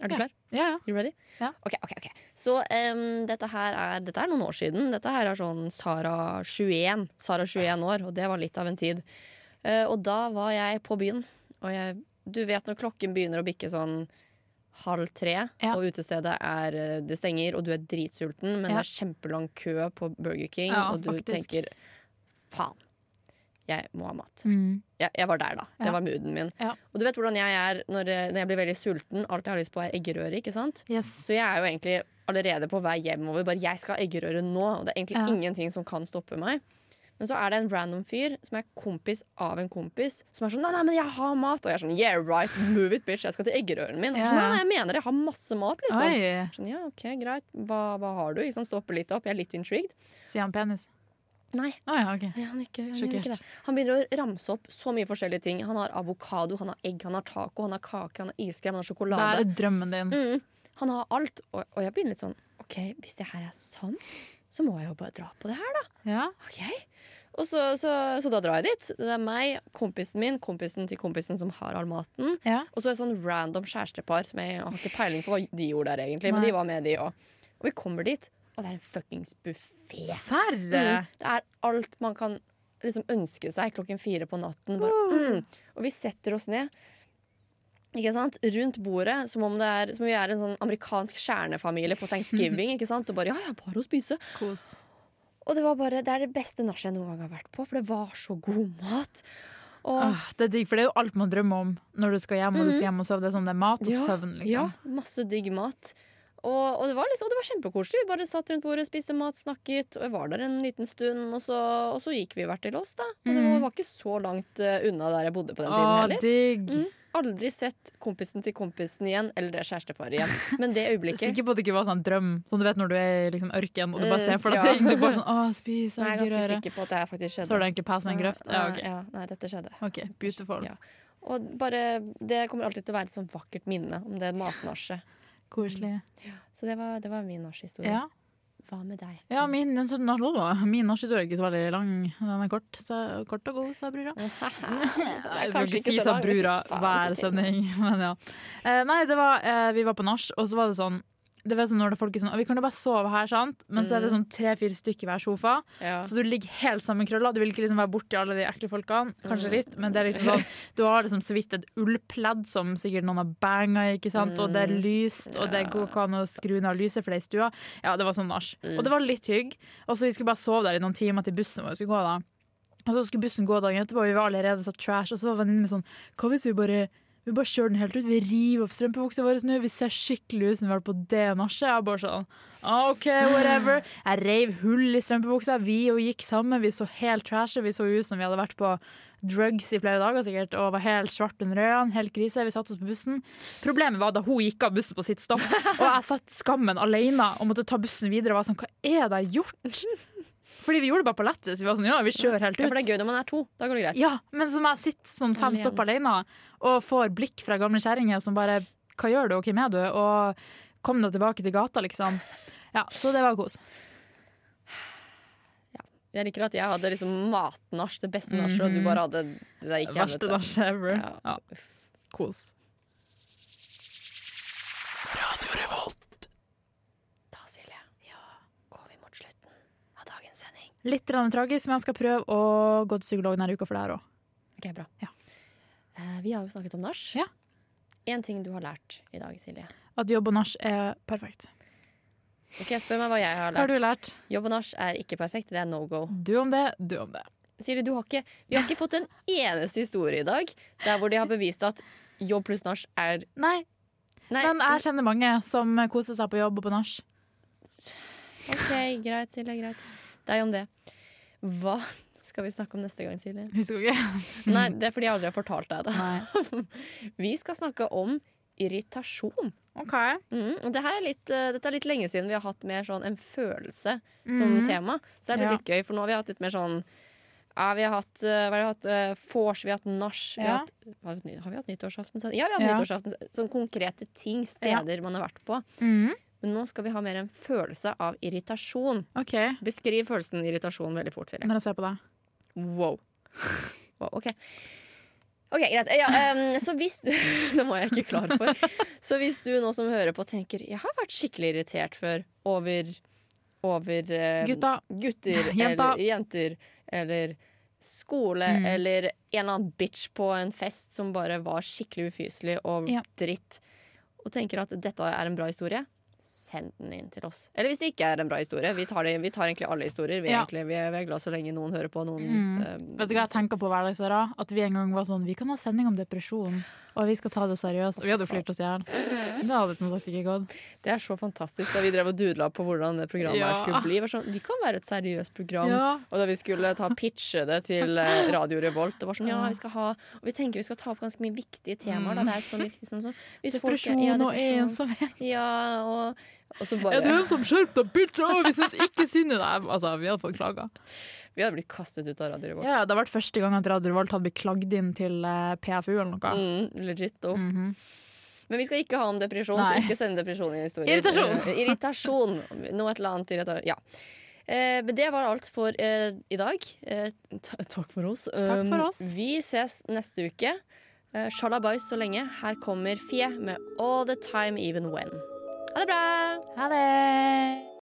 Speaker 1: Er du klar?
Speaker 2: Ja, ja.
Speaker 1: You ready?
Speaker 2: Ja.
Speaker 1: Ok, ok, ok. Så em, dette, her er, dette er noen år siden. Dette her er sånn Sara 21. Sara 21 år, og det var litt av en tid. Eh, og da var jeg på byen, og jeg, du vet når klokken begynner å bikke sånn halv tre,
Speaker 2: Ja.
Speaker 1: og utestedet er eh, Det stenger, og du er dritsulten, men
Speaker 2: Ja.
Speaker 1: det er kjempelang kø på Burger King,
Speaker 2: Ja,
Speaker 1: og du
Speaker 2: faktisk.
Speaker 1: tenker faen, jeg må ha mat
Speaker 2: Mm.
Speaker 1: jeg, jeg var der, da. Det
Speaker 2: Ja.
Speaker 1: var mooden min.
Speaker 2: Ja.
Speaker 1: Og du vet hvordan jeg er når, eh, når jeg blir veldig sulten. Alt jeg har lyst på, er eggerøre. ikke sant?
Speaker 2: Yes.
Speaker 1: Så jeg er jo egentlig allerede på vei hjemover. Bare jeg skal ha eggerøre nå. Og det er egentlig
Speaker 2: Ja.
Speaker 1: ingenting som kan stoppe meg. Men så er det en random fyr som er kompis av en kompis, som er sånn 'Nei, nei, men jeg har mat.' Og jeg er sånn 'Yeah right, move it, bitch. Jeg skal til eggerøren min.' Og jeg er sånn, nei,
Speaker 2: Ja.
Speaker 1: nei, jeg mener det. Jeg har masse mat, liksom.
Speaker 2: Oi,
Speaker 1: Sånn, ja, ok, greit. Hva, hva har du? Liksom, stopper litt opp. Jeg er litt intrigued.
Speaker 2: sier han penis?
Speaker 1: Nei,
Speaker 2: Å ja, ok.
Speaker 1: Nei, han, ikke, han, gjør
Speaker 2: Sjokkert.
Speaker 1: ikke det. han begynner å ramse opp så mye forskjellige ting. Han har avokado, han har egg, han har taco, han har kake, han har iskrem, han har
Speaker 2: Det
Speaker 1: sjokolade.
Speaker 2: er drømmen din.
Speaker 1: Mm. Han har alt. Og, og jeg begynner litt sånn OK, hvis det her er sant, så må jeg jo bare dra på det her, da.
Speaker 2: Ja.
Speaker 1: Ok og så, så, så da drar jeg dit. Det er meg, kompisen min, kompisen til kompisen som har all maten.
Speaker 2: Ja.
Speaker 1: Og så et sånn random kjærestepar som jeg har ikke peiling på hva de gjorde der, egentlig. Men
Speaker 2: Nei.
Speaker 1: de var med, de òg. Og vi kommer dit, og det er en fuckings buffé.
Speaker 2: Serr?
Speaker 1: Mm. Det er alt man kan liksom ønske seg klokken fire på natten. Bare, mm. Og vi setter oss ned ikke sant? rundt bordet som om, det er, som om vi er en sånn amerikansk kjernefamilie på thanksgiving. ikke sant? Og bare ja, ja, bare å spise.
Speaker 4: Kos.
Speaker 1: Og det var bare, det er det beste nachet jeg noen gang har vært på, for det var så god mat. Og
Speaker 2: Åh, det er digg, for det er jo alt man drømmer om når du skal hjem og du skal hjem og sove. Det er sånn det er mat og
Speaker 1: Mm. Ja,
Speaker 2: søvn, liksom.
Speaker 1: Ja, masse digg mat. Og, og det var liksom, og det var kjempekoselig. Vi bare satt rundt bordet, spiste mat, snakket. Og jeg var der en liten stund, og så, og så gikk vi hvert til oss, da. Og det
Speaker 2: Mm.
Speaker 1: var, var ikke så langt eh, unna der jeg bodde på den tiden
Speaker 2: Åh,
Speaker 1: heller.
Speaker 2: digg.
Speaker 1: Mm. Aldri sett kompisen til kompisen igjen, eller det kjæresteparet igjen. Men det øyeblikket
Speaker 2: Sikker på at det ikke var sånn drøm, sånn du vet når du er i liksom ørken og du bare
Speaker 1: Mm,
Speaker 2: ser for deg
Speaker 1: ja.
Speaker 2: ting. Du bare sånn, åh, spis,
Speaker 1: Nei, Jeg er ganske
Speaker 2: agurøre.
Speaker 1: sikker på at det her faktisk skjedde.
Speaker 2: Så har du egentlig passet en grøft? Ja, ok.
Speaker 1: ja, nei, dette skjedde.
Speaker 2: Ok, beautiful.
Speaker 1: Ja. Og bare, det kommer alltid til å være et sånn vakkert minne om det matnasjet.
Speaker 2: Koselig.
Speaker 1: Så det var, det var min nachhistorie.
Speaker 2: Ja.
Speaker 1: Hva med deg?
Speaker 2: Ja, min, den som- Lolo, min nachspiel er ikke så veldig lang. Den er kort, så, kort og god, sa brura. Jeg skal
Speaker 1: kanskje
Speaker 2: ikke si
Speaker 1: ikke så
Speaker 2: sa
Speaker 1: lang,
Speaker 2: brura
Speaker 1: fy faen,
Speaker 2: hver
Speaker 1: så tidlig.
Speaker 2: sending, men ja. Eh, nei, det var, eh, vi var på nach, og så var det sånn det var sånn når det folk er sånn, «Å, Vi kan jo bare sove her, sant? men så er
Speaker 1: Mm.
Speaker 2: det sånn tre-fire stykker i hver sofa.
Speaker 1: Ja.
Speaker 2: Så du ligger helt sammenkrølla. Du vil ikke liksom være borti alle de ekle folkene. Kanskje litt, men det er liksom sånn du har liksom så vidt et ullpledd som sikkert noen har banga i, ikke sant? og det er lyst, og det går ikke an å skru ned lyset for det er i stua. Ja, det var sånn nach. Og det var litt hygg. Og så vi skulle bare sove der i noen timer til bussen vår skulle gå, da. Og så skulle bussen gå dagen etterpå, og vi var allerede så trash, og så var venninnen min sånn Hva hvis vi bare vi bare kjører den helt ut, vi river opp strømpebuksa vår nå, vi ser skikkelig ut som vi har vært på det nachet. Jeg bare sånn OK, whatever. Jeg reiv hull i strømpebuksa, vi og gikk sammen. Vi så helt trashy, vi så ut som vi hadde vært på drugs i flere dager sikkert, og var helt svart under øynene, helt grise. Vi satte oss på bussen. Problemet var da hun gikk av bussen på sitt stopp, og jeg satt skammen alene og måtte ta bussen videre og var sånn Hva er det jeg har gjort? Fordi vi gjorde det bare på lettest. Vi var sånn Ja, vi kjører helt
Speaker 1: Ja, for
Speaker 2: ut.
Speaker 1: det er gøy når man er to. Da går det greit.
Speaker 2: Ja, men som jeg sitter sånn fem
Speaker 1: Alene.
Speaker 2: stopp alene og får blikk fra gamle kjerringer som bare Hva gjør du, og hvem er du? Og kom deg tilbake til gata, liksom. Ja, så det var kos.
Speaker 1: Jeg liker at jeg hadde liksom matnasj, det beste nachet, og du bare hadde det der gikk jeg,
Speaker 2: Mhm. Verste
Speaker 1: vet du.
Speaker 2: nachet ever. Ja.
Speaker 1: Ja.
Speaker 2: kos.
Speaker 1: Da, Silje, går vi mot slutten av dagens sending.
Speaker 2: Litt grann tragisk, men jeg skal prøve å gå til psykolog denne uka for det her òg.
Speaker 1: Ok, bra.
Speaker 2: Ja.
Speaker 1: Eh, vi har jo snakket om nach.
Speaker 2: Ja.
Speaker 1: En ting du har lært i dag, Silje.
Speaker 2: At jobb og nach er perfekt.
Speaker 1: Ok, Spør meg hva jeg har
Speaker 2: Hva har
Speaker 1: lært.
Speaker 2: du lært?
Speaker 1: Jobb og nach er ikke perfekt. Det er no go.
Speaker 2: Du om det, du om det.
Speaker 1: Silje, du har ikke, vi har ikke fått en eneste historie i dag der hvor de har bevist at jobb pluss nach er
Speaker 2: Nei,
Speaker 1: Nei,
Speaker 2: men jeg kjenner mange som koser seg på jobb og på nach.
Speaker 1: OK, greit, Silje. Greit. Deg om det. Hva skal vi snakke om neste gang, Silje?
Speaker 2: Husker du ikke?
Speaker 1: Nei, det er fordi jeg aldri har fortalt deg det.
Speaker 2: Nei.
Speaker 1: Vi skal snakke om irritasjon.
Speaker 2: OK.
Speaker 1: Mm, og det her er litt, eh, dette er litt lenge siden vi har hatt mer sånn en følelse som tema. Så det har blitt
Speaker 2: Ja.
Speaker 1: litt gøy, for nå har vi hatt litt mer sånn ja, vi har hatt eh, hva har vi hatt, eh, vors, vi har hatt nach vi har
Speaker 2: Ja.
Speaker 1: hatt- hva har vi hatt ny- Har vi hatt nyttårsaften? Ja, vi har hatt
Speaker 2: Ja.
Speaker 1: nyttårsaften. Sånn konkrete ting, steder man har vært på.
Speaker 2: Mhm.
Speaker 1: Men nå skal vi ha mer en følelse av irritasjon.
Speaker 2: OK,
Speaker 1: Beskriv følelsen irritasjon veldig fort, Silje.
Speaker 2: når jeg ser på deg.
Speaker 1: Wow. wow ok. Ok, greit. Ja, em, så hvis du Det må jeg ikke klar for. Så hvis du nå som hører på tenker Jeg har vært skikkelig irritert før over Over eh,
Speaker 2: Gutta.
Speaker 1: gutter
Speaker 2: Jenta.
Speaker 1: eller
Speaker 2: Mm.
Speaker 1: jenter eller skole eller en eller annen bitch på en fest som bare var skikkelig ufyselig og
Speaker 2: Ja.
Speaker 1: dritt, og tenker at dette er en bra historie, send den inn til oss. Eller hvis det ikke er en bra historie. Vi tar, det, vi tar egentlig alle historier. Vi, er
Speaker 2: Ja. Mm.
Speaker 1: egentlig, vi, er, vi er glad så lenge noen hører på. Noen, eh,
Speaker 2: Vet du hva jeg tenker på hverdagsåra? At vi en gang var sånn Vi kan ha sending om depresjon, og vi skal ta det seriøst. Og vi hadde jo flirt oss i hjel. Det hadde som sagt ikke gått.
Speaker 1: det er så fantastisk da vi drev og dudla på hvordan det programmet
Speaker 2: Ja.
Speaker 1: her skulle bli. Vi Var sånn, vi kan være et seriøst program.
Speaker 2: Ja.
Speaker 1: Og da vi skulle ta pitche det til eh, Radio Revolt, det var sånn ja, vi skal ha Og vi tenker vi skal ta opp ganske mye viktige temaer. Da. Det er sånn viktig sånn, sånn. Hvis folk er-
Speaker 2: Mm. Depresjon
Speaker 1: ja,
Speaker 2: og
Speaker 1: depresjon.
Speaker 2: ensomhet.
Speaker 1: Ja, og, og så
Speaker 2: Er du
Speaker 1: bare
Speaker 2: ensom? Skjerp deg, bitch! Å, vi syns ikke synd i deg! Altså, vi hadde fått klager.
Speaker 1: Vi hadde blitt kastet ut av Radio Revolt.
Speaker 2: Ja, det har vært første gang at Radio Revolt hadde blitt klagd inn til eh, PFU eller noe.
Speaker 1: Mm, legit. Og. Men vi skal ikke ha om depresjon,
Speaker 2: Nei.
Speaker 1: så ikke send depresjon inn i historien.
Speaker 2: Irritasjon.
Speaker 1: Eh, irritasjon. Noe et eller annet irrita- Ja. Eh, men det var alt for eh, i dag. Eh, ta takk for oss.
Speaker 2: Takk for oss.
Speaker 1: Um, vi ses neste uke. Eh, Shalabais så lenge. Her kommer Fie med All the time even when. Ha det bra!
Speaker 2: Ha det!